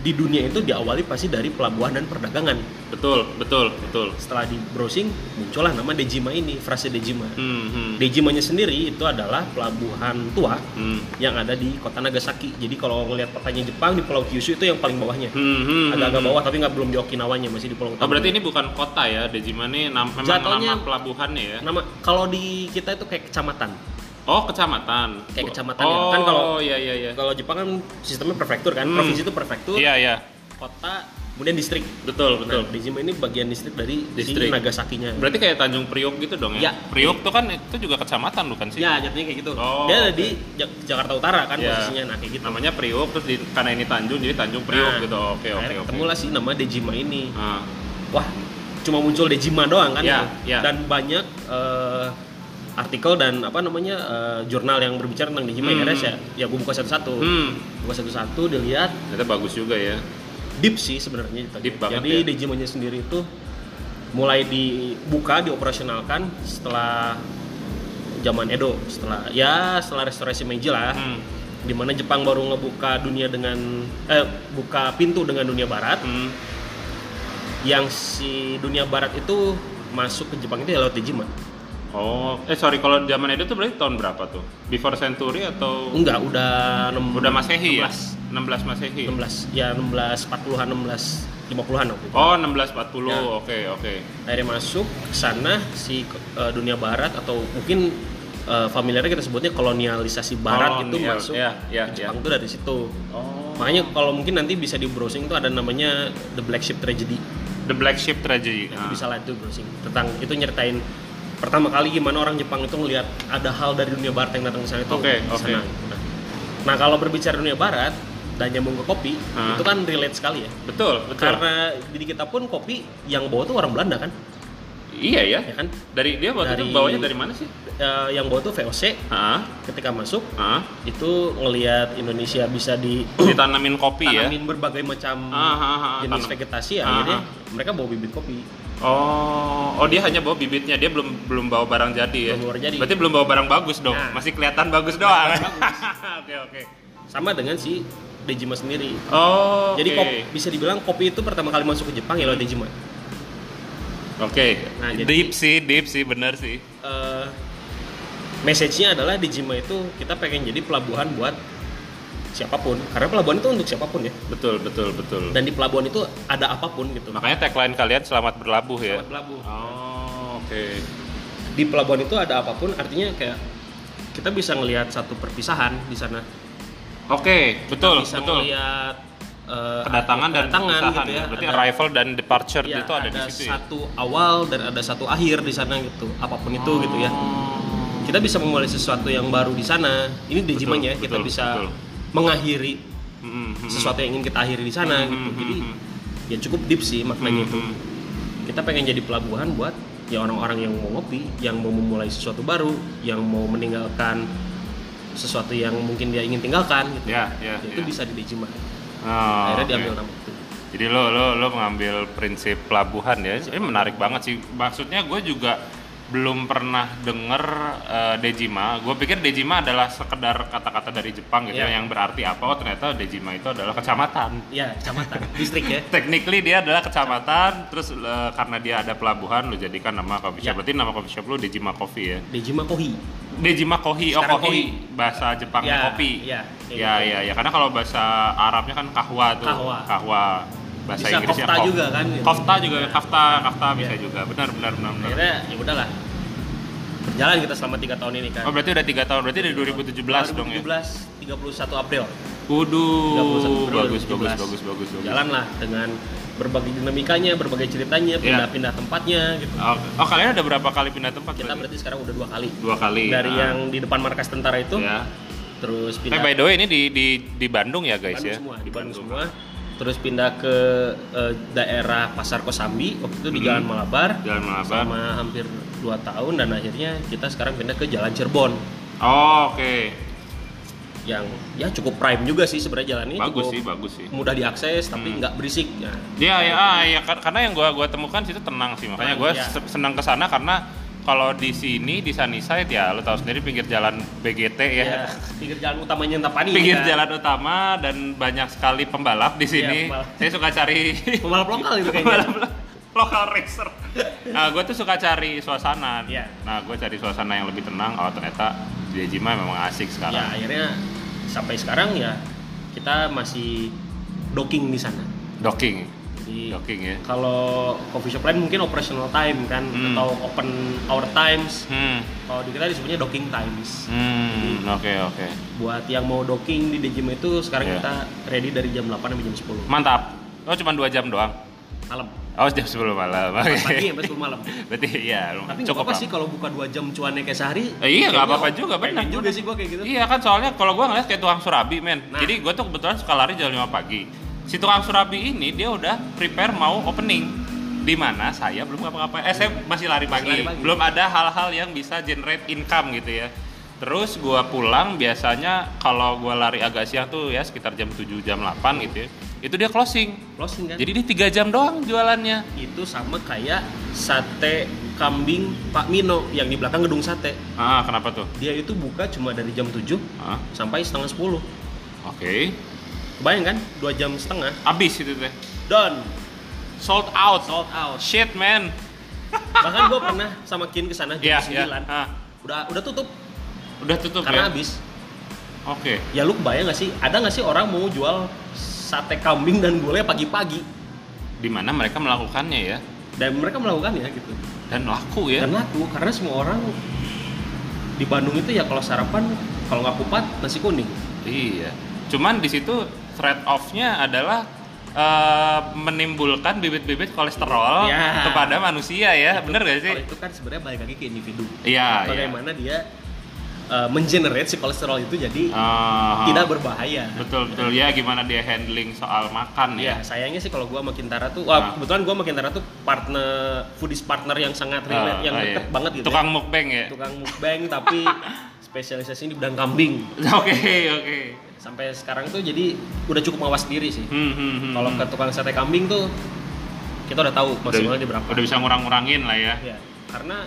Speaker 2: di dunia itu diawali pasti dari pelabuhan dan perdagangan.
Speaker 1: betul, betul, betul.
Speaker 2: Setelah di browsing muncullah nama Dejima ini, frase Dejima.
Speaker 1: Hmm, hmm,
Speaker 2: Dejimanya sendiri itu adalah pelabuhan tua
Speaker 1: hmm.
Speaker 2: yang ada di kota Nagasaki. Jadi kalau ngelihat petanya Jepang di Pulau Kyushu itu yang paling bawahnya.
Speaker 1: Hmm, hmm,
Speaker 2: Agak-agak
Speaker 1: hmm.
Speaker 2: bawah tapi nggak belum di Okinawanya, masih di Pulau Utara.
Speaker 1: Oh, berarti ini bukan kota ya, Dejima ini nam- memang
Speaker 2: Jatuhnya-
Speaker 1: nama pelabuhannya ya?
Speaker 2: nama kalau di kita itu kayak kecamatan.
Speaker 1: Oh, kecamatan. Bu-
Speaker 2: Kayak kecamatan ya.
Speaker 1: oh,
Speaker 2: Kan kalau-
Speaker 1: iya iya iya.
Speaker 2: Kalau Jepang kan sistemnya prefektur kan,
Speaker 1: Hmm.
Speaker 2: provinsi itu prefektur,
Speaker 1: Iya iya.
Speaker 2: kota, kemudian distrik.
Speaker 1: Betul,
Speaker 2: Nah,
Speaker 1: betul.
Speaker 2: Dejima ini bagian distrik dari
Speaker 1: Distrik.
Speaker 2: si Nagasakinya.
Speaker 1: Berarti kayak Tanjung Priok gitu dong ya?
Speaker 2: Ya.
Speaker 1: Priok tuh kan itu juga kecamatan bukan sih?
Speaker 2: Ya, jatuhnya kayak gitu.
Speaker 1: Oh,
Speaker 2: Dia ada
Speaker 1: oke.
Speaker 2: di Jak- Jakarta Utara kan
Speaker 1: Ya.
Speaker 2: posisinya, nah kayak gitu.
Speaker 1: Namanya Priok terus di, karena ini Tanjung jadi Tanjung Priok
Speaker 2: Nah,
Speaker 1: gitu. Oke oke
Speaker 2: Akhirnya
Speaker 1: oke.
Speaker 2: ketemulah sih nama Dejima ini.
Speaker 1: Ah,
Speaker 2: Wah, cuma muncul Dejima doang kan?
Speaker 1: Ya, ya.
Speaker 2: Dan banyak eh, artikel dan apa namanya eh, jurnal yang berbicara tentang Dejima
Speaker 1: Hmm.
Speaker 2: Akhirnya saya, ya gue buka satu-satu.
Speaker 1: Hmm,
Speaker 2: Buka satu-satu dilihat
Speaker 1: ternyata bagus juga ya.
Speaker 2: deep sih sebenarnya ditanya.
Speaker 1: Deep banget
Speaker 2: Jadi
Speaker 1: ya.
Speaker 2: Dejimanya sendiri itu mulai dibuka, dioperasionalkan setelah zaman Edo, setelah ya setelah restorasi Meiji lah,
Speaker 1: Hmm,
Speaker 2: dimana Jepang baru ngebuka dunia dengan eh buka pintu dengan dunia Barat,
Speaker 1: hmm.
Speaker 2: yang si dunia Barat itu masuk ke Jepang itu ya lewat Dejima.
Speaker 1: Oh, eh sorry kalau zaman itu tuh berarti tahun berapa tuh? Before century atau
Speaker 2: Enggak, udah Hmm. enam-
Speaker 1: udah Masehi ya? 16
Speaker 2: 16,
Speaker 1: Masehi.
Speaker 2: 16, ya 16 40-an, 16 50-an waktu itu.
Speaker 1: Oh, 1640.
Speaker 2: Ya.
Speaker 1: Oke, oke.
Speaker 2: akhirnya masuk ke sana si eh, dunia barat atau mungkin eh, familiarnya kita sebutnya kolonialisasi barat itu
Speaker 1: Kolonial,
Speaker 2: masuk
Speaker 1: ya, ya,
Speaker 2: ke
Speaker 1: ya.
Speaker 2: Jepang itu dari situ.
Speaker 1: Oh.
Speaker 2: Makanya kalau mungkin nanti bisa di browsing itu ada namanya The Black Ship Tragedy.
Speaker 1: The Black Sheep Tragedy.
Speaker 2: Nanti
Speaker 1: Ah.
Speaker 2: bisa lah itu browsing tentang itu nyeritain pertama kali gimana orang Jepang itu ngelihat ada hal dari dunia barat yang datang ke sana itu
Speaker 1: Oke,
Speaker 2: di
Speaker 1: oke.
Speaker 2: sana. Nah, Nah, kalau berbicara dunia barat dan nyambung ke kopi,
Speaker 1: Ah.
Speaker 2: itu kan relate sekali ya.
Speaker 1: Betul, betul.
Speaker 2: Karena diri kita pun kopi yang bawa tuh orang Belanda kan,
Speaker 1: Iya ya.
Speaker 2: ya kan?
Speaker 1: Dari dia waktu itu
Speaker 2: Dari-
Speaker 1: bawahnya dari mana sih?
Speaker 2: Eh, yang bawa tuh VOC
Speaker 1: Heeh.
Speaker 2: ketika masuk
Speaker 1: Heeh.
Speaker 2: itu ngelihat Indonesia bisa di
Speaker 1: [CLEARS THROAT] Ditanamin kopi ya.
Speaker 2: tanamin berbagai macam
Speaker 1: Ah, ah, ah,
Speaker 2: jenis
Speaker 1: tanam.
Speaker 2: vegetasi
Speaker 1: Ah,
Speaker 2: akhirnya
Speaker 1: ah.
Speaker 2: mereka bawa bibit kopi
Speaker 1: Oh, oh dia hanya bawa bibitnya, dia belum belum bawa barang jadi ya.
Speaker 2: Belum bawa jadi.
Speaker 1: Berarti belum bawa barang bagus dong.
Speaker 2: Nah.
Speaker 1: Masih kelihatan bagus doang. [LAUGHS]
Speaker 2: Kelihatan bagus.
Speaker 1: Oke, oke.
Speaker 2: sama dengan si Dejima sendiri.
Speaker 1: Oh.
Speaker 2: Jadi
Speaker 1: oke.
Speaker 2: kopi, bisa dibilang kopi itu pertama kali masuk ke Jepang ya lewat Dejima.
Speaker 1: Oke.
Speaker 2: Nah, jadi-
Speaker 1: deep sih, deep sih, benar sih.
Speaker 2: Eh, message-nya adalah Dejima itu kita pengen jadi pelabuhan buat siapapun karena pelabuhan itu untuk siapapun ya
Speaker 1: Betul, betul, betul.
Speaker 2: dan di pelabuhan itu ada apapun gitu.
Speaker 1: Makanya tagline kalian selamat berlabuh ya.
Speaker 2: Selamat berlabuh.
Speaker 1: Oh, oke.
Speaker 2: di pelabuhan itu ada apapun artinya kayak kita bisa ngelihat satu perpisahan di sana
Speaker 1: Oke, betul,
Speaker 2: bisa
Speaker 1: betul.
Speaker 2: ngelihat eh,
Speaker 1: Kedatangan dan
Speaker 2: kedatangan
Speaker 1: perpisahan.
Speaker 2: gitu ya
Speaker 1: Berarti
Speaker 2: Ada-
Speaker 1: arrival dan departure
Speaker 2: ya,
Speaker 1: itu ada, di situ ya.
Speaker 2: satu awal dan ada satu akhir di sana gitu apapun itu gitu ya
Speaker 1: Oh.
Speaker 2: kita bisa memulai sesuatu yang baru di sana ini dejimanya
Speaker 1: Betul,
Speaker 2: kita
Speaker 1: betul,
Speaker 2: bisa
Speaker 1: betul.
Speaker 2: mengakhiri
Speaker 1: Mm, mm,
Speaker 2: sesuatu yang ingin kita akhiri di
Speaker 1: Mm,
Speaker 2: sana gitu
Speaker 1: mm,
Speaker 2: jadi
Speaker 1: mm.
Speaker 2: ya cukup deep sih
Speaker 1: mm,
Speaker 2: maknanya itu
Speaker 1: mm.
Speaker 2: kita pengen jadi pelabuhan buat ya orang-orang yang mau ngopi, yang mau memulai sesuatu baru, yang mau meninggalkan sesuatu yang mungkin dia ingin tinggalkan gitu.
Speaker 1: Ya, ya,
Speaker 2: itu
Speaker 1: ya.
Speaker 2: bisa di Dejima.
Speaker 1: Oh,
Speaker 2: Akhirnya
Speaker 1: oke.
Speaker 2: diambil nama itu.
Speaker 1: Jadi lo lo lo mengambil prinsip pelabuhan ya. Ini menarik banget sih. Maksudnya gue juga belum pernah denger eh, Dejima. Gue pikir Dejima adalah sekedar kata-kata dari Jepang gitu ya,
Speaker 2: Iya.
Speaker 1: yang berarti apa? Oh ternyata Dejima itu adalah kecamatan.
Speaker 2: Ya, kecamatan, [LAUGHS] distrik ya.
Speaker 1: Technically dia adalah kecamatan, terus eh, karena dia ada pelabuhan lo jadikan nama coffee shop.
Speaker 2: Ya.
Speaker 1: Berarti nama coffee shop lo Dejima Coffee ya.
Speaker 2: Dejima Kohi.
Speaker 1: Dejima Kohi, oh
Speaker 2: Sekarang
Speaker 1: Kohi bahasa Jepangnya
Speaker 2: Ya,
Speaker 1: kopi.
Speaker 2: ya, kayak
Speaker 1: ya,
Speaker 2: gitu.
Speaker 1: ya, ya. Karena kalau bahasa Arabnya kan kahwa tuh.
Speaker 2: Kahwa.
Speaker 1: Bahasa
Speaker 2: Bisa
Speaker 1: Inggrisnya
Speaker 2: kofta
Speaker 1: kof-
Speaker 2: juga kan, gitu.
Speaker 1: Kofta juga, kafta, kafta bisa
Speaker 2: Ya.
Speaker 1: juga. Benar, benar, benar, benar.
Speaker 2: Akhirnya ya udahlah. Berjalan kita selama tiga tahun ini kan.
Speaker 1: Oh berarti udah tiga tahun, berarti dari 2017, dong ya?
Speaker 2: 2017, 31 April.
Speaker 1: Kudu,
Speaker 2: 31 April
Speaker 1: bagus, bagus,
Speaker 2: 2017.
Speaker 1: bagus, bagus, bagus.
Speaker 2: Jalanlah dengan berbagai dinamikanya, berbagai ceritanya,
Speaker 1: Ya.
Speaker 2: pindah-pindah tempatnya gitu.
Speaker 1: Oh, oh, kalian ada berapa kali pindah tempat?
Speaker 2: Kita berarti sekarang udah dua kali.
Speaker 1: Dua kali.
Speaker 2: Dari
Speaker 1: nah.
Speaker 2: yang di depan markas tentara itu,
Speaker 1: Ya.
Speaker 2: terus
Speaker 1: Eh
Speaker 2: pindah
Speaker 1: by the way ini di di di Bandung ya guys
Speaker 2: Bandung
Speaker 1: ya?
Speaker 2: semua, di Bandung semua. Terus pindah ke eh, daerah Pasar Kosambi, waktu itu di
Speaker 1: Mhm.
Speaker 2: Jalan Malabar
Speaker 1: Jalan Malabar.
Speaker 2: selama hampir 2 tahun dan akhirnya kita sekarang pindah ke Jalan Cirebon.
Speaker 1: Oh, oke.
Speaker 2: yang ya cukup prime juga sih sebenarnya jalannya
Speaker 1: Bagus
Speaker 2: cukup
Speaker 1: sih, bagus Mm. sih.
Speaker 2: mudah diakses tapi nggak berisik ya.
Speaker 1: Iya, ya, ah, ya, kar- karena yang gua gua temukan situ tenang sih. Makanya gua
Speaker 2: Iya.
Speaker 1: se- senang ke sana karena kalau di sini di Sunnyside ya lo tahu sendiri pinggir jalan BGT ya.
Speaker 2: Ya, pinggir jalan utamanya Antapani
Speaker 1: [LAUGHS] Pinggir
Speaker 2: kan.
Speaker 1: jalan utama dan banyak sekali pembalap di sini.
Speaker 2: Iya, pembalap.
Speaker 1: Saya suka
Speaker 2: [LAUGHS]
Speaker 1: cari
Speaker 2: Pembalap lokal itu kayaknya.
Speaker 1: pembalap lo- lokal racer. Nah, gue tuh suka cari suasana.
Speaker 2: Iya.
Speaker 1: Nah, gue cari suasana yang lebih tenang. Oh, ternyata Jejima memang asik
Speaker 2: ya
Speaker 1: sekarang.
Speaker 2: akhirnya sampai sekarang ya kita masih docking di sana
Speaker 1: Docking.
Speaker 2: jadi
Speaker 1: Docking ya.
Speaker 2: kalau coffee shop lain mungkin operational time kan
Speaker 1: Hmm.
Speaker 2: atau open hour times
Speaker 1: Hmm.
Speaker 2: kalau di kita disebutnya docking times
Speaker 1: Hmm, oke oke.
Speaker 2: buat yang mau docking di Dejima itu sekarang
Speaker 1: Iya.
Speaker 2: kita ready dari jam 8 sampai jam 10
Speaker 1: Mantap. Oh, cuma 2 jam doang. [LAUGHS]
Speaker 2: malam
Speaker 1: Oh, jam 10 malam. [LAUGHS] Oke.
Speaker 2: pagi sampai 10 malam
Speaker 1: Berarti iya,
Speaker 2: tapi nggak
Speaker 1: cukup
Speaker 2: apa-apa
Speaker 1: lah.
Speaker 2: sih kalau buka 2 jam cuannya kayak sehari
Speaker 1: Eh, iya, nggak
Speaker 2: kayaknya
Speaker 1: apa-apa juga,
Speaker 2: pengen
Speaker 1: benar.
Speaker 2: juga sih gua kayak gitu
Speaker 1: Iya kan soalnya kalau gua ngeliat kayak tukang surabi men.
Speaker 2: Nah.
Speaker 1: Jadi gua tuh kebetulan suka lari jam 5 pagi. Si tukang surabi ini dia udah prepare mau opening di mana saya belum ngapa-ngapain. Eh saya masih lari pagi.
Speaker 2: lari pagi.
Speaker 1: Belum ada hal-hal yang bisa generate income gitu ya. Terus gua pulang biasanya kalau gua lari agak siang tuh ya sekitar jam 7 jam 8 gitu ya. Itu dia closing.
Speaker 2: closing kan
Speaker 1: Jadi dia tiga jam doang jualannya.
Speaker 2: itu sama kayak sate kambing Pak Mino yang di belakang gedung sate.
Speaker 1: Ah, kenapa tuh?
Speaker 2: Dia itu buka cuma dari jam 7
Speaker 1: Ah,
Speaker 2: sampai setengah 10.
Speaker 1: oke.
Speaker 2: Kebayang kan? 2 jam setengah.
Speaker 1: Abis itu teh.
Speaker 2: Done.
Speaker 1: Sold out.
Speaker 2: Sold out.
Speaker 1: Shit, man.
Speaker 2: Bahkan gua pernah sama Kin ke sana jam
Speaker 1: Iya,
Speaker 2: 9.
Speaker 1: iya. Ah,
Speaker 2: Udah udah tutup
Speaker 1: udah tutup ya.
Speaker 2: karena habis.
Speaker 1: Oke.
Speaker 2: Ya lu kebayang gak sih? Ada gak sih orang mau jual sate kambing dan gulai pagi-pagi?
Speaker 1: Di mana mereka melakukannya ya?
Speaker 2: Dan mereka melakukannya gitu.
Speaker 1: Dan laku ya.
Speaker 2: Dan laku karena semua orang di Bandung itu ya kalau sarapan kalau nggak kupat nasi kuning.
Speaker 1: Iya. Cuman di situ trade off-nya adalah eh, menimbulkan bibit-bibit kolesterol
Speaker 2: Ya.
Speaker 1: kepada manusia ya. Bener gak sih?
Speaker 2: Kalau itu kan sebenarnya balik lagi ke individu.
Speaker 1: Iya, iya.
Speaker 2: Bagaimana dia uh, mengenerate si kolesterol itu jadi
Speaker 1: Ah,
Speaker 2: tidak berbahaya.
Speaker 1: betul betul ya gimana dia handling soal makan ya.
Speaker 2: Ya, sayangnya sih kalau gua sama Kintara tuh, wah,
Speaker 1: Ah.
Speaker 2: kebetulan gua sama Kintara tuh partner foodies partner yang sangat
Speaker 1: Eh,
Speaker 2: relate, yang
Speaker 1: ah,
Speaker 2: deket
Speaker 1: iya.
Speaker 2: banget gitu.
Speaker 1: Tukang mukbang ya.
Speaker 2: ya.
Speaker 1: [LAUGHS]
Speaker 2: Tukang mukbang tapi spesialisasinya di bidang kambing.
Speaker 1: Oke, oke.
Speaker 2: Sampai sekarang tuh jadi udah cukup mawas diri sih.
Speaker 1: Hmm, hmm, hmm,
Speaker 2: Kalau
Speaker 1: hmm.
Speaker 2: ke tukang sate kambing tuh kita udah tahu maksimalnya di berapa.
Speaker 1: Udah bisa ngurang-ngurangin lah ya.
Speaker 2: Ya, karena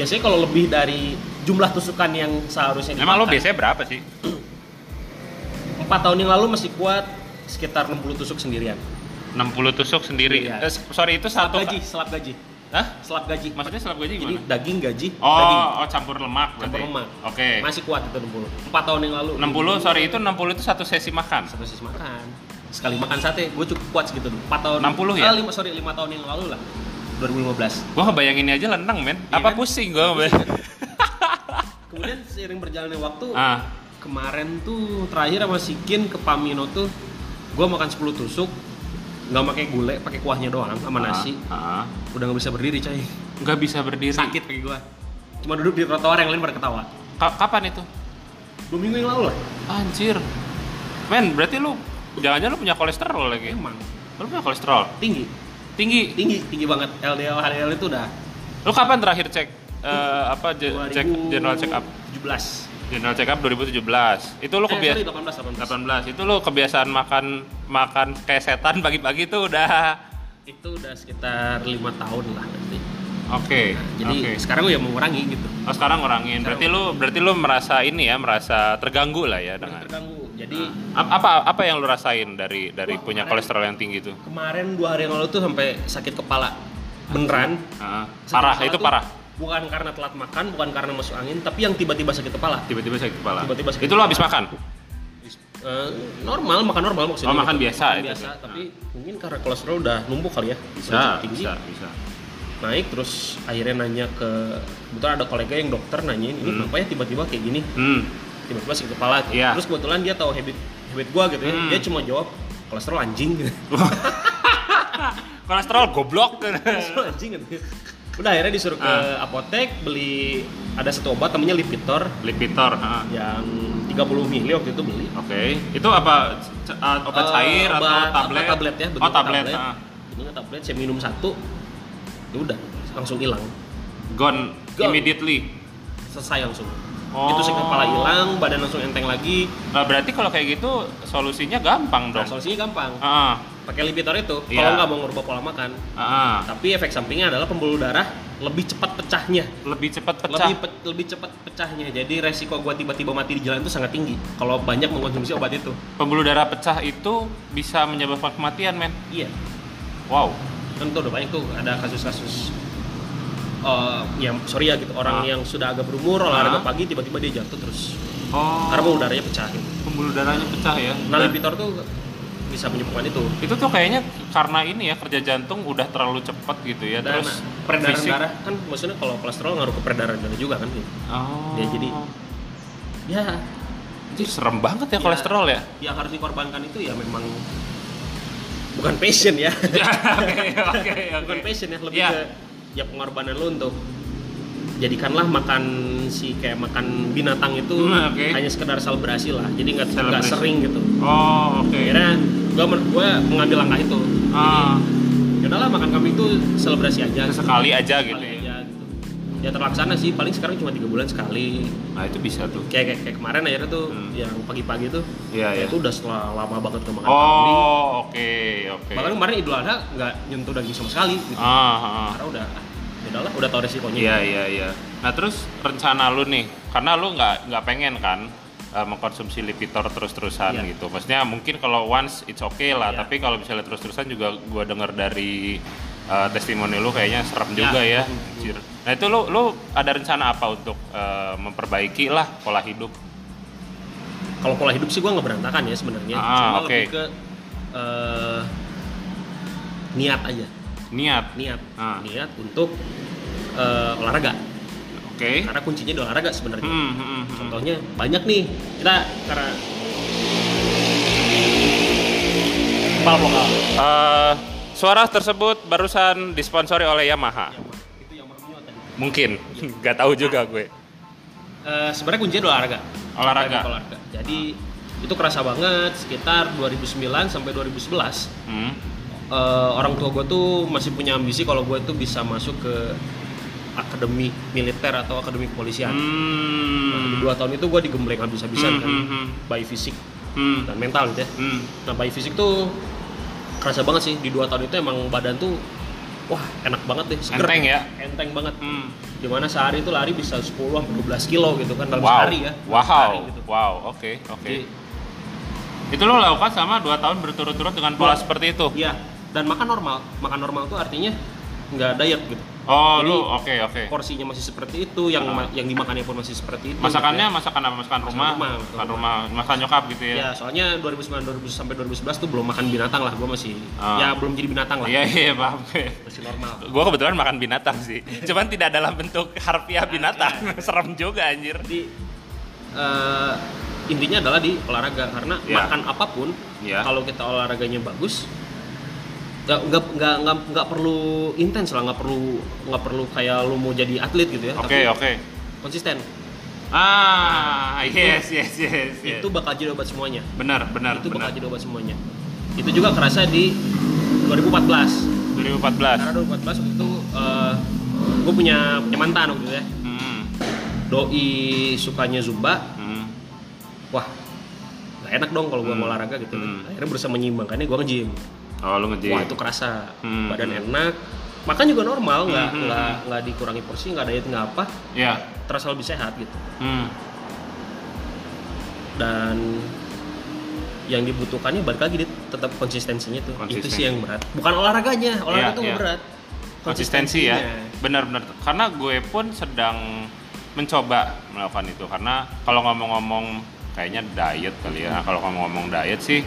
Speaker 2: biasanya kalau lebih dari jumlah tusukan yang seharusnya
Speaker 1: Emang lo
Speaker 2: dimakan,
Speaker 1: biasanya berapa sih?
Speaker 2: empat tahun yang lalu masih kuat sekitar 60 tusuk sendirian
Speaker 1: 60 tusuk sendiri.
Speaker 2: Iya.
Speaker 1: Eh, sorry itu
Speaker 2: selap
Speaker 1: satu.
Speaker 2: gaji selap gaji
Speaker 1: Hah?
Speaker 2: selap gaji
Speaker 1: Maksudnya selap gaji
Speaker 2: jadi
Speaker 1: gimana?
Speaker 2: daging gaji daging
Speaker 1: Oh, oh campur lemak
Speaker 2: campur
Speaker 1: berarti.
Speaker 2: lemak
Speaker 1: Oke.
Speaker 2: masih kuat itu 60 4 tahun yang lalu
Speaker 1: 60 sorry itu 60 itu satu sesi makan.
Speaker 2: satu sisi makan sekali makan sate gue cukup kuat segitu dulu 4 tahun
Speaker 1: 60 ya?
Speaker 2: ah, lima- sorry 5 tahun yang lalu lah 2015
Speaker 1: Gua ngebayanginnya aja lenang, men.
Speaker 2: Iya
Speaker 1: Apa
Speaker 2: kan?
Speaker 1: pusing gua ngebayang.
Speaker 2: kemudian seiring berjalannya waktu
Speaker 1: ah,
Speaker 2: kemarin tuh terakhir sama Sikin ke Pamino tuh gue makan 10 tusuk nggak pakai gulai pakai kuahnya doang sama nasi
Speaker 1: Ah, ah.
Speaker 2: udah nggak bisa berdiri coy
Speaker 1: Nggak bisa berdiri.
Speaker 2: sakit kaki gua cuma duduk di trotoar yang lain pada ketawa
Speaker 1: Ka- kapan itu?
Speaker 2: dua minggu yang lalu lah
Speaker 1: Anjir. Men, berarti lu jangan-jangan lu punya kolesterol lagi.
Speaker 2: emang
Speaker 1: Lu punya kolesterol
Speaker 2: tinggi
Speaker 1: tinggi.
Speaker 2: tinggi tinggi banget LDL HDL itu udah
Speaker 1: Lu kapan terakhir cek eh, apa je- cek general check up?
Speaker 2: 17
Speaker 1: General check up 2017. Itu lu
Speaker 2: eh, sorry,
Speaker 1: kebiasaan
Speaker 2: 18 18
Speaker 1: 18. Itu lu kebiasaan makan makan kayak setan pagi-pagi itu udah
Speaker 2: itu udah sekitar lima tahun lah nanti
Speaker 1: Oke.
Speaker 2: jadi
Speaker 1: oke.
Speaker 2: sekarang gue ya mengurangi gitu
Speaker 1: Oh, sekarang ngurangin. Berarti lu berarti lu merasa ini ya, merasa terganggu lah ya
Speaker 2: Masih
Speaker 1: dengan
Speaker 2: terganggu jadi
Speaker 1: Ap- apa apa yang lu rasain dari dari punya kolesterol yang tinggi itu?
Speaker 2: kemarin dua hari yang lalu tuh sampai sakit kepala beneran
Speaker 1: Ah,
Speaker 2: Sakit
Speaker 1: parah,
Speaker 2: kepala
Speaker 1: itu
Speaker 2: tuh
Speaker 1: parah.
Speaker 2: bukan karena telat makan bukan karena masuk angin tapi yang tiba-tiba sakit kepala
Speaker 1: Tiba-tiba sakit kepala.
Speaker 2: Tiba-tiba sakit
Speaker 1: itu lu habis makan.
Speaker 2: Eh, normal makan normal
Speaker 1: Oh,
Speaker 2: maksudnya
Speaker 1: makan biasa
Speaker 2: Makan
Speaker 1: itu. Ah.
Speaker 2: biasa tapi mungkin karena kolesterol udah numpuk kali ya
Speaker 1: Bisa,
Speaker 2: Kolesterol tinggi
Speaker 1: bisa, bisa.
Speaker 2: naik terus akhirnya nanya ke kebetulan ada kolega yang dokter nanyain ini
Speaker 1: Hmm.
Speaker 2: kenapa ya tiba-tiba kayak gini
Speaker 1: Hmm.
Speaker 2: tiba-tiba sakit kepala gitu.
Speaker 1: Iya.
Speaker 2: terus kebetulan dia tahu habit habit gua gitu ya
Speaker 1: Hmm.
Speaker 2: dia cuma jawab kolesterol anjing [LAUGHS]
Speaker 1: Kolesterol goblok. [LAUGHS]
Speaker 2: kolesterol anjing gitu udah akhirnya disuruh ke
Speaker 1: Ah.
Speaker 2: apotek beli ada satu obat namanya Lipitor
Speaker 1: Lipitor, ah.
Speaker 2: yang 30 mili waktu itu beli
Speaker 1: Oke. Itu apa c- ah, obat
Speaker 2: Eh,
Speaker 1: cair atau
Speaker 2: obat-
Speaker 1: tablet?
Speaker 2: apa, tablet ya
Speaker 1: Oh, tablet. ah.
Speaker 2: bentuknya tablet saya minum satu ya udah langsung hilang
Speaker 1: Gone,
Speaker 2: Gone.
Speaker 1: immediately.
Speaker 2: selesai langsung
Speaker 1: Oh.
Speaker 2: itu sakit kepala hilang badan langsung enteng lagi
Speaker 1: Nah, berarti kalau kayak gitu solusinya gampang
Speaker 2: nah,
Speaker 1: dong.
Speaker 2: solusinya gampang
Speaker 1: Heeh.
Speaker 2: pakai lipitor itu kalau
Speaker 1: Ah. Iya.
Speaker 2: nggak mau ngerubah pola makan
Speaker 1: Heeh.
Speaker 2: tapi efek sampingnya adalah pembuluh darah lebih cepat pecahnya
Speaker 1: Lebih cepat pecah.
Speaker 2: lebih pe- lebih cepat pecahnya jadi resiko gua tiba-tiba mati di jalan itu sangat tinggi kalau banyak mengkonsumsi obat itu
Speaker 1: Pembuluh darah pecah itu bisa menyebabkan kematian, men.
Speaker 2: iya
Speaker 1: Wow.
Speaker 2: kan tuh udah banyak tuh ada kasus-kasus eh, yang sorry ya gitu
Speaker 1: Ah.
Speaker 2: orang yang sudah agak berumur
Speaker 1: Ah.
Speaker 2: olahraga pagi tiba-tiba dia jatuh terus
Speaker 1: Oh.
Speaker 2: karena pembuluh darahnya pecah gitu.
Speaker 1: Pembuluh darahnya pecah ya.
Speaker 2: nah lipitor tuh bisa menyembuhkan itu
Speaker 1: itu tuh kayaknya karena ini ya kerja jantung udah terlalu cepat gitu ya
Speaker 2: dan
Speaker 1: terus
Speaker 2: peredaran
Speaker 1: fisik-
Speaker 2: darah kan maksudnya kalau kolesterol ngaruh ke peredaran darah juga kan gitu.
Speaker 1: Oh.
Speaker 2: Ya, jadi- ya
Speaker 1: itu serem banget ya,
Speaker 2: Ya.
Speaker 1: kolesterol
Speaker 2: [LAUGHS]
Speaker 1: ya.
Speaker 2: yang harus dikorbankan itu ya memang bukan [LAUGHS] passion ya
Speaker 1: Oke oke
Speaker 2: bukan passion ya lebih
Speaker 1: Ya.
Speaker 2: ke ya pengorbanan lo untuk jadikanlah makan si kayak makan binatang itu
Speaker 1: Hmm, oke.
Speaker 2: hanya sekedar selebrasi lah jadi nggak nggak
Speaker 1: Selebrasi.
Speaker 2: sering gitu
Speaker 1: Oh oke.
Speaker 2: akhirnya gua men- gua mengambil langkah itu
Speaker 1: Ah,
Speaker 2: ya udahlah makan kambing itu selebrasi aja gitu.
Speaker 1: sekali aja gitu.
Speaker 2: Sekali
Speaker 1: Ya.
Speaker 2: aja gitu ya terlaksana sih paling sekarang cuma tiga bulan sekali
Speaker 1: Nah itu bisa tuh.
Speaker 2: kayak kayak, kayak kemarin akhirnya tuh
Speaker 1: Hmm.
Speaker 2: yang pagi-pagi tuh
Speaker 1: Iya
Speaker 2: ya
Speaker 1: ya.
Speaker 2: itu udah setelah lama banget nggak makan kambing
Speaker 1: Oh oke oke.
Speaker 2: bahkan kemarin idul adha nggak nyentuh daging sama sekali gitu.
Speaker 1: Ah, ah.
Speaker 2: karena udah ah, ya udahlah udah tahu resikonya
Speaker 1: Iya iya iya. Nah terus rencana lu nih, karena lu nggak nggak pengen kan eh, mengkonsumsi lipitor terus-terusan
Speaker 2: Iya.
Speaker 1: gitu. Maksudnya mungkin kalau once it's okay lah,
Speaker 2: Iya.
Speaker 1: tapi kalau misalnya terus-terusan juga gua dengar dari eh, testimoni lu kayaknya serem
Speaker 2: Iya.
Speaker 1: juga ya.
Speaker 2: Mhm.
Speaker 1: Anjir. Nah itu lu lu ada rencana apa untuk eh, memperbaiki lah pola hidup?
Speaker 2: kalau pola hidup sih gue nggak berantakan ya sebenarnya
Speaker 1: Ah,
Speaker 2: cuma
Speaker 1: oke.
Speaker 2: lebih ke eh, niat aja
Speaker 1: Niat,
Speaker 2: niat
Speaker 1: Ah.
Speaker 2: niat untuk eh, olahraga
Speaker 1: oke?
Speaker 2: karena kuncinya di olahraga sebenarnya
Speaker 1: Hmm, hmm, hmm.
Speaker 2: contohnya banyak nih kita karena kepala vokal
Speaker 1: Eh, suara tersebut barusan disponsori oleh Yamaha.
Speaker 2: itu yang berminyak tadi [LAUGHS]
Speaker 1: Mungkin, nggak tahu juga gue.
Speaker 2: Eh, sebenarnya kuncinya di olahraga
Speaker 1: Olahraga.
Speaker 2: Sampai olahraga jadi itu kerasa banget sekitar 2009 sampai 2011
Speaker 1: Hmm.
Speaker 2: Eh, orang tua gue tuh masih punya ambisi kalau gue tuh bisa masuk ke akademi militer atau akademi kepolisian.
Speaker 1: Hmm.
Speaker 2: Ya. Dua tahun itu gue digembleng habis-habisan kan,
Speaker 1: Hmm, hmm,
Speaker 2: by fisik
Speaker 1: hmm,
Speaker 2: dan mental gitu ya.
Speaker 1: hmm, hmm.
Speaker 2: Nah by fisik tuh kerasa banget sih di dua tahun itu emang badan tuh wah enak banget deh. seger.
Speaker 1: Enteng ya?
Speaker 2: Enteng banget.
Speaker 1: Hmm.
Speaker 2: Dimana sehari tuh lari bisa 10 sampai 12 kilo gitu kan dalam
Speaker 1: Wow.
Speaker 2: sehari ya. dalam
Speaker 1: Wow.
Speaker 2: sehari gitu.
Speaker 1: Wow. Oke. Oke.
Speaker 2: Jadi,
Speaker 1: Itu lo lakukan sama 2 tahun berturut-turut dengan pola
Speaker 2: Dua.
Speaker 1: seperti itu.
Speaker 2: Iya. Dan makan normal. Makan normal tuh artinya nggak diet gitu.
Speaker 1: Oh,
Speaker 2: Jadi-
Speaker 1: lu oke oke.
Speaker 2: porsinya masih seperti itu, yang ma- yang dimakannya pun masih seperti itu.
Speaker 1: Masakannya
Speaker 2: gitu
Speaker 1: masakan apa? Masakan rumah,
Speaker 2: rumah,
Speaker 1: masakan rumah, masakan nyokap gitu
Speaker 2: ya.
Speaker 1: ya.
Speaker 2: Ya, soalnya 2009 2000 sampai 2011 tuh belum makan binatang lah, gua masih
Speaker 1: Ah.
Speaker 2: ya belum jadi binatang lah.
Speaker 1: Iya iya paham gue.
Speaker 2: Masih normal.
Speaker 1: Gue kebetulan makan binatang sih. Cuman tidak dalam bentuk harfiah binatang. [LAUGHS] Serem juga anjir.
Speaker 2: Jadi eh, intinya adalah di olahraga karena
Speaker 1: Ya.
Speaker 2: makan apapun
Speaker 1: Ya.
Speaker 2: kalau kita olahraganya bagus nggak nggak nggak nggak, nggak perlu intens lah nggak perlu nggak perlu kayak lu mau jadi atlet gitu ya
Speaker 1: Oke
Speaker 2: tapi
Speaker 1: oke.
Speaker 2: konsisten
Speaker 1: Ah, yes yes yes. yes.
Speaker 2: itu bakal jadi obat semuanya
Speaker 1: benar Iya. benar
Speaker 2: itu bakal
Speaker 1: benar.
Speaker 2: jadi obat semuanya itu juga kerasa di 2014
Speaker 1: 2014.
Speaker 2: karena 2014 waktu itu gue punya punya mantan waktu itu ya
Speaker 1: Hmm.
Speaker 2: doi sukanya zumba
Speaker 1: Hmm.
Speaker 2: wah gak enak dong kalau gue
Speaker 1: Hmm.
Speaker 2: mau olahraga gitu
Speaker 1: Hmm.
Speaker 2: akhirnya berusaha menyimbangkannya gue nge-gym
Speaker 1: Oh, lu nge
Speaker 2: wah itu kerasa
Speaker 1: Hmm.
Speaker 2: badan enak makan juga normal nggak
Speaker 1: Hmm.
Speaker 2: nggak nggak dikurangi porsi nggak diet nggak apa
Speaker 1: Ya.
Speaker 2: terasa lebih sehat gitu
Speaker 1: Hmm.
Speaker 2: dan yang dibutuhkannya balik lagi Dit, tetap konsistensinya tuh itu
Speaker 1: Konsistensi.
Speaker 2: sih yang berat bukan olahraganya olahraga
Speaker 1: Iya,
Speaker 2: tuh
Speaker 1: iya.
Speaker 2: berat
Speaker 1: konsistensi ya
Speaker 2: Konsistensinya.
Speaker 1: benar-benar karena gue pun sedang mencoba melakukan itu karena kalau ngomong-ngomong kayaknya diet kali ya kalau ngomong-ngomong diet sih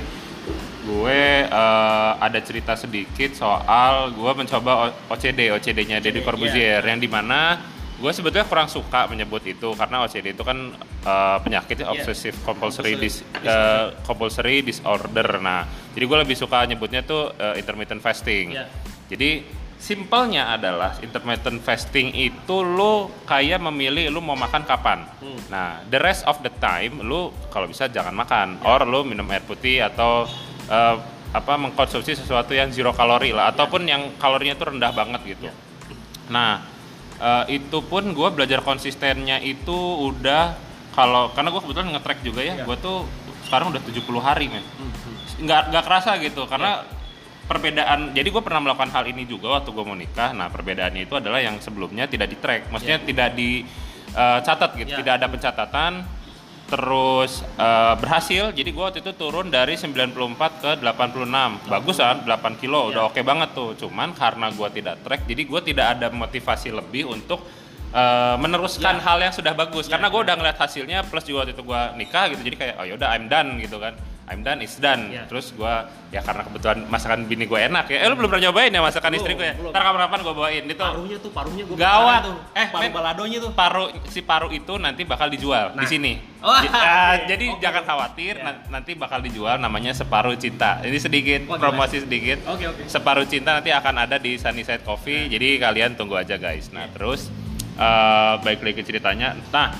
Speaker 1: gue eh, ada cerita sedikit soal gue mencoba O- OCD OCD-nya Deddy
Speaker 2: iya.
Speaker 1: Corbuzier yang dimana gue sebetulnya kurang suka menyebut itu karena OCD itu kan eh, penyakit
Speaker 2: Iya.
Speaker 1: obsessive compulsory dis-
Speaker 2: Compulsive
Speaker 1: eh, compulsory disorder nah jadi gue lebih suka nyebutnya tuh eh, intermittent fasting
Speaker 2: Iya.
Speaker 1: jadi simpelnya adalah intermittent fasting itu lu kayak memilih lu mau makan kapan.
Speaker 2: Hmm.
Speaker 1: Nah, the rest of the time lu kalau bisa jangan makan
Speaker 2: Iya.
Speaker 1: or lu minum air putih atau eh, apa mengkonsumsi sesuatu yang zero kalori
Speaker 2: Iya.
Speaker 1: lah ataupun yang kalorinya tuh rendah banget gitu. Nah, eh, itu pun gue belajar konsistennya itu udah kalau karena gue kebetulan nge-track juga ya, gue tuh sekarang udah 70 hari men nggak nggak kerasa gitu karena perbedaan jadi gue pernah melakukan hal ini juga waktu gue mau nikah nah perbedaannya itu adalah yang sebelumnya tidak di track maksudnya tidak di eh, catat gitu
Speaker 2: Ya.
Speaker 1: tidak ada pencatatan terus eh, berhasil jadi gue waktu itu turun dari 94 ke 86 bagus kan 8 kilo udah oke banget tuh cuman karena gue tidak track jadi gue tidak ada motivasi lebih untuk eh, meneruskan hal yang sudah bagus karena gue udah ngeliat hasilnya plus juga waktu itu gue nikah gitu jadi kayak oh yaudah I'm done gitu kan I'm done is done
Speaker 2: Ya.
Speaker 1: terus gue ya karena kebetulan masakan bini gue enak ya eh lu belum pernah nyobain ya masakan
Speaker 2: Belum,
Speaker 1: istri gue ya
Speaker 2: belum.
Speaker 1: ntar kapan-kapan gue bawain itu
Speaker 2: paruhnya tuh paruhnya gue
Speaker 1: Gawat. Eh,
Speaker 2: eh paru
Speaker 1: men.
Speaker 2: baladonya tuh
Speaker 1: paru si paru itu nanti bakal dijual di
Speaker 2: Nah.
Speaker 1: sini.
Speaker 2: Oh,
Speaker 1: J- ah,
Speaker 2: oke.
Speaker 1: Jadi
Speaker 2: Oke.
Speaker 1: jangan khawatir
Speaker 2: Ya.
Speaker 1: na- nanti bakal dijual namanya separuh cinta. Ini sedikit
Speaker 2: Wah, gimana?
Speaker 1: promosi sedikit.
Speaker 2: Oke, oke.
Speaker 1: Separuh cinta nanti akan ada di Sunnyside Coffee. Jadi kalian tunggu aja guys. Nah, terus eh, balik lagi ke ceritanya. Nah,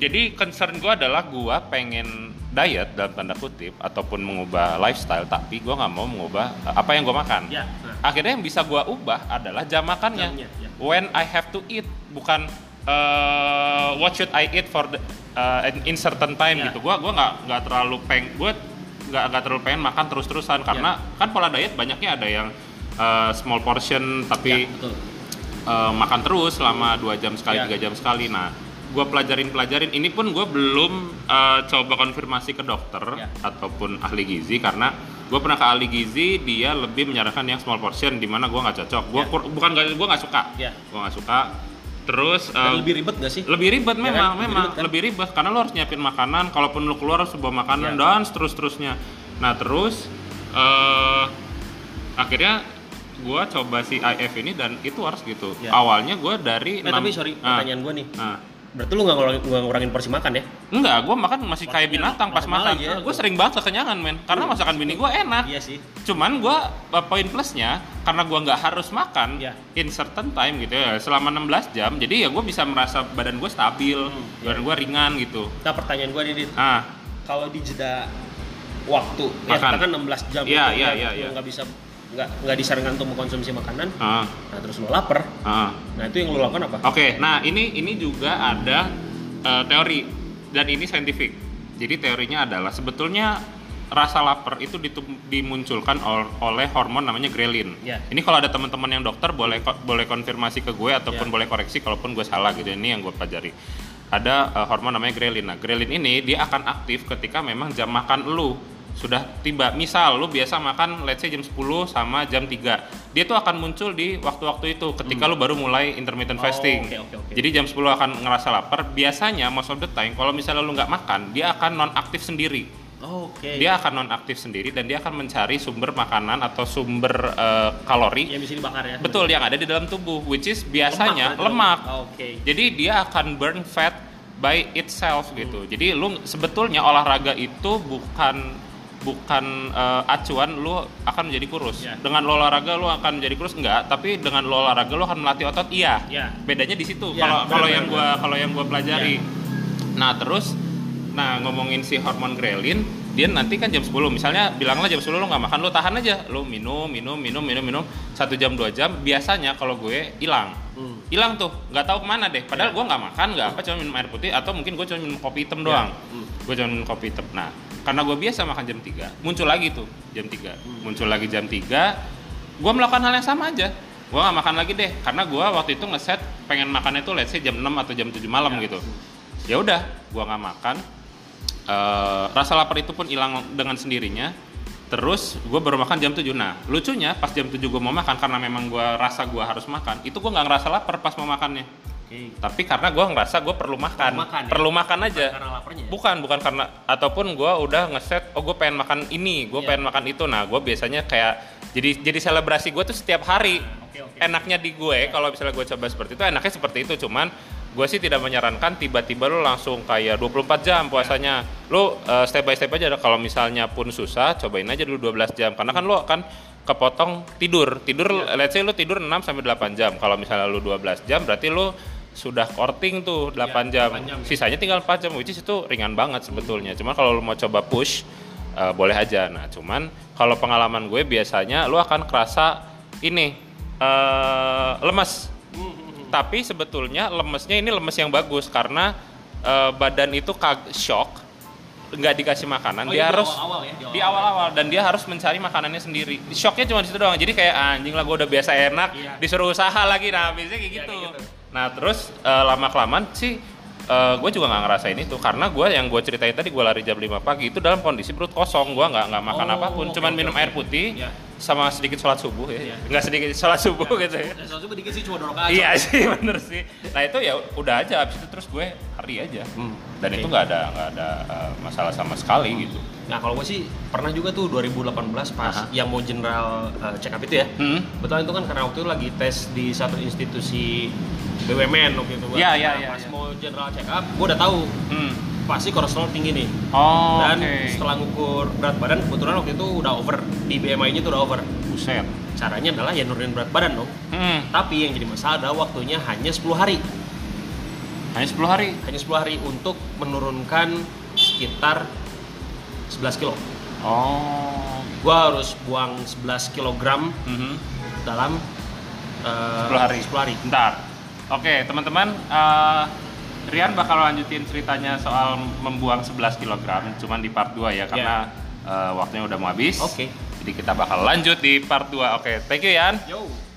Speaker 1: jadi concern gua adalah gua pengen diet dalam tanda kutip ataupun mengubah lifestyle tapi gua nggak mau mengubah eh, apa yang gua makan
Speaker 2: ya nah.
Speaker 1: akhirnya yang bisa gua ubah adalah jam makannya.
Speaker 2: Jamnya, ya.
Speaker 1: When I have to eat, bukan eh, what should I eat for the, eh, in- in certain time
Speaker 2: Ya.
Speaker 1: gitu. Gua gua nggak nggak terlalu peng, gua nggak nggak terlalu pengen makan terus-terusan karena
Speaker 2: Ya.
Speaker 1: kan pola diet banyaknya ada yang eh, small portion tapi
Speaker 2: betul
Speaker 1: eh, makan terus selama dua jam sekali
Speaker 2: Ya.
Speaker 1: tiga jam sekali nah gue pelajarin pelajarin ini pun gue belum eh, coba konfirmasi ke dokter
Speaker 2: Ya.
Speaker 1: ataupun ahli gizi karena gue pernah ke ahli gizi dia lebih menyarankan yang small portion di mana gue nggak cocok gue
Speaker 2: Ya.
Speaker 1: bukan gue nggak suka
Speaker 2: Ya.
Speaker 1: gue nggak suka terus
Speaker 2: Dan
Speaker 1: eh,
Speaker 2: lebih ribet gak sih
Speaker 1: lebih ribet
Speaker 2: Ya
Speaker 1: memang
Speaker 2: kan? Lebih
Speaker 1: memang
Speaker 2: ribet kan?
Speaker 1: lebih ribet karena lo harus nyiapin makanan kalaupun lo keluar harus sebuah makanan
Speaker 2: Ya.
Speaker 1: dan terus terusnya nah terus eh akhirnya gua coba si IF ini dan itu harus gitu
Speaker 2: Ya.
Speaker 1: awalnya gua dari
Speaker 2: eh
Speaker 1: enam-
Speaker 2: tapi sorry
Speaker 1: Ah,
Speaker 2: pertanyaan gue nih
Speaker 1: ah.
Speaker 2: berarti lu nggak ngurangin, nggak ngurangin porsi makan ya
Speaker 1: enggak gua makan masih kayak
Speaker 2: Maksudnya
Speaker 1: binatang pas
Speaker 2: normal
Speaker 1: makan
Speaker 2: aja,
Speaker 1: gua
Speaker 2: gitu.
Speaker 1: sering banget kekenyangan men karena
Speaker 2: Iya.
Speaker 1: masakan bini gua enak
Speaker 2: iya sih
Speaker 1: cuman gua eh, poin plusnya karena gua nggak harus makan
Speaker 2: Iya.
Speaker 1: in certain time gitu ya selama 16 jam jadi ya gua bisa merasa badan gua stabil
Speaker 2: Hmm.
Speaker 1: badan gua ringan gitu
Speaker 2: nah pertanyaan gue nih Dit.
Speaker 1: ah
Speaker 2: kalau di jeda waktu ya
Speaker 1: Makan.
Speaker 2: kan 16 jam
Speaker 1: Iya,
Speaker 2: itu,
Speaker 1: iya,
Speaker 2: lu
Speaker 1: iya, iya.
Speaker 2: nggak bisa nggak nggak disarankan untuk mengkonsumsi makanan
Speaker 1: ah
Speaker 2: nah terus lu lapar
Speaker 1: ah
Speaker 2: nah itu yang lu lakukan apa
Speaker 1: oke nah ini ini juga ada eh, teori dan ini saintifik jadi teorinya adalah sebetulnya rasa lapar itu ditu- dimunculkan ol- oleh hormon namanya grelin.
Speaker 2: Iya.
Speaker 1: Ini kalau ada teman-teman yang dokter boleh ko- boleh konfirmasi ke gue ataupun
Speaker 2: Iya.
Speaker 1: boleh koreksi kalaupun gue salah gitu. Ini yang gue pelajari. Ada eh, hormon namanya grelin. Nah, grelin ini dia akan aktif ketika memang jam makan lu sudah tiba. Misal lu biasa makan let's say jam 10 sama jam 3. Dia tuh akan muncul di waktu-waktu itu ketika lu baru mulai intermittent
Speaker 2: Oh,
Speaker 1: fasting.
Speaker 2: oke, oke, oke.
Speaker 1: Jadi jam 10 akan ngerasa lapar. Biasanya most of the time kalau misalnya lu nggak makan, dia akan nonaktif sendiri.
Speaker 2: Oh, oke
Speaker 1: Dia akan nonaktif sendiri dan dia akan mencari sumber makanan atau sumber eh, kalori
Speaker 2: yang bisa dibakar ya
Speaker 1: Betul yang ada di dalam tubuh, which is biasanya
Speaker 2: berarti
Speaker 1: lemak.
Speaker 2: Oh, oke
Speaker 1: Jadi dia akan burn fat by itself gitu.
Speaker 2: Hmm.
Speaker 1: Jadi lu sebetulnya olahraga itu bukan bukan eh, acuan lu akan menjadi kurus.
Speaker 2: Ya.
Speaker 1: Dengan lu olahraga lu akan menjadi kurus enggak, tapi dengan lu olahraga lu akan melatih otot iya.
Speaker 2: Ya.
Speaker 1: Bedanya di situ. Kalau
Speaker 2: Ya, benar,
Speaker 1: kalau
Speaker 2: benar, Iya.
Speaker 1: yang gua kalau yang gua pelajari. Nah, terus nah ngomongin si hormon grelin, dia nanti kan jam 10 misalnya bilanglah jam 10 lu nggak makan, lu tahan aja, lu minum, minum, minum, minum, minum satu jam dua jam biasanya kalau gue hilang
Speaker 2: Hmm.
Speaker 1: hilang tuh nggak tahu kemana deh padahal gua nggak makan nggak apa cuma minum air putih atau mungkin gue cuma minum kopi hitam doang
Speaker 2: Hmm.
Speaker 1: gue cuma minum kopi hitam nah karena gue biasa makan jam 3 muncul lagi tuh jam 3
Speaker 2: Hmm.
Speaker 1: muncul lagi jam 3 gue melakukan hal yang sama aja gua nggak makan lagi deh karena gua waktu itu ngeset pengen makannya tuh let's say jam 6 atau jam 7 malam
Speaker 2: Ya.
Speaker 1: gitu ya udah gua nggak makan Eh, rasa lapar itu pun hilang dengan sendirinya terus gue baru makan jam 7 nah lucunya pas jam 7 gue mau makan karena memang gue rasa gue harus makan itu gue nggak ngerasa lapar pas mau makannya
Speaker 2: Oke.
Speaker 1: tapi karena gue ngerasa gue perlu makan,
Speaker 2: Perlu makan, ya?
Speaker 1: perlu makan aja
Speaker 2: karena laparnya ya?
Speaker 1: bukan bukan karena ataupun gue udah ngeset oh gue pengen makan ini gue
Speaker 2: Iya.
Speaker 1: pengen makan itu nah gue biasanya kayak jadi jadi selebrasi gue tuh setiap hari
Speaker 2: oke, oke. Eh,
Speaker 1: enaknya di gue kalau misalnya gue coba seperti itu enaknya seperti itu cuman gue sih tidak menyarankan tiba-tiba lo langsung kayak 24 jam puasanya
Speaker 2: Ya.
Speaker 1: lo uh, step by step aja kalau misalnya pun susah cobain aja dulu 12 jam karena kan lo akan kepotong tidur tidur
Speaker 2: Iya.
Speaker 1: let's say lo tidur 6 sampai 8 jam kalau misalnya lo 12 jam berarti lo sudah korting tuh 8 jam.
Speaker 2: 8 Iya, jam, ya.
Speaker 1: sisanya tinggal 4 jam which is itu ringan banget sebetulnya cuman kalau lu mau coba push eh, boleh aja nah cuman kalau pengalaman gue biasanya lu akan kerasa ini eh lemes tapi sebetulnya lemesnya ini lemes yang bagus karena eh, badan itu kag shock nggak dikasih makanan
Speaker 2: Oh,
Speaker 1: dia
Speaker 2: iya, di
Speaker 1: harus
Speaker 2: awal-awal ya,
Speaker 1: di
Speaker 2: di
Speaker 1: awal-awal dan dia harus mencari makanannya sendiri shocknya cuma di situ doang jadi kayak anjing lah gue udah biasa enak
Speaker 2: Iya.
Speaker 1: disuruh usaha lagi nah biasanya kayak
Speaker 2: Iya,
Speaker 1: gitu,
Speaker 2: kayak gitu.
Speaker 1: nah terus eh, lama kelamaan sih gue juga nggak ngerasain itu karena gue yang gue ceritain tadi gue lari jam 5 pagi itu dalam kondisi perut kosong gue nggak nggak makan
Speaker 2: Oh,
Speaker 1: apapun
Speaker 2: oke,
Speaker 1: cuman
Speaker 2: oke,
Speaker 1: minum
Speaker 2: oke.
Speaker 1: air putih
Speaker 2: Iya.
Speaker 1: sama sedikit sholat subuh ya
Speaker 2: Iya.
Speaker 1: nggak sedikit sholat subuh gitu ya
Speaker 2: Dan satu dikit sih cuma dorong aja.
Speaker 1: Iya sih [LAUGHS] bener sih. Nah itu ya udah aja abis itu terus gue hari aja.
Speaker 2: Hmm,
Speaker 1: Dan
Speaker 2: oke.
Speaker 1: itu nggak ada nggak ada uh, masalah sama sekali gitu.
Speaker 2: Nah kalau gue sih pernah juga tuh 2018 pas
Speaker 1: Aha.
Speaker 2: yang mau general uh, check up itu ya.
Speaker 1: Hmm.
Speaker 2: Betul itu kan karena waktu itu lagi tes di satu institusi BUMN waktu itu. kan.
Speaker 1: Iya, iya,
Speaker 2: Nah,
Speaker 1: iya,
Speaker 2: Pas
Speaker 1: iya.
Speaker 2: mau general check up, gue udah tahu
Speaker 1: Hmm.
Speaker 2: pasti kolesterol tinggi nih.
Speaker 1: Oh.
Speaker 2: Dan
Speaker 1: oke.
Speaker 2: setelah ngukur berat badan kebetulan waktu itu udah over di BMI-nya tuh udah over.
Speaker 1: buset.
Speaker 2: Caranya adalah ya nurunin berat badan dong.
Speaker 1: Hmm.
Speaker 2: Tapi yang jadi masalah adalah waktunya hanya 10 hari.
Speaker 1: Hanya 10 hari.
Speaker 2: Hanya 10 hari untuk menurunkan sekitar 11 kilo.
Speaker 1: Oh.
Speaker 2: Gua harus buang 11 kilogram
Speaker 1: Mhm.
Speaker 2: dalam eh,
Speaker 1: 10 hari.
Speaker 2: 10 hari.
Speaker 1: Bentar. Oke teman-teman. eh, Rian bakal lanjutin ceritanya soal membuang 11 kg cuman di part 2 ya karena eh, waktunya udah mau habis.
Speaker 2: Oke.
Speaker 1: Jadi kita bakal lanjut di part 2. Oke, thank you Yan.
Speaker 2: Yo.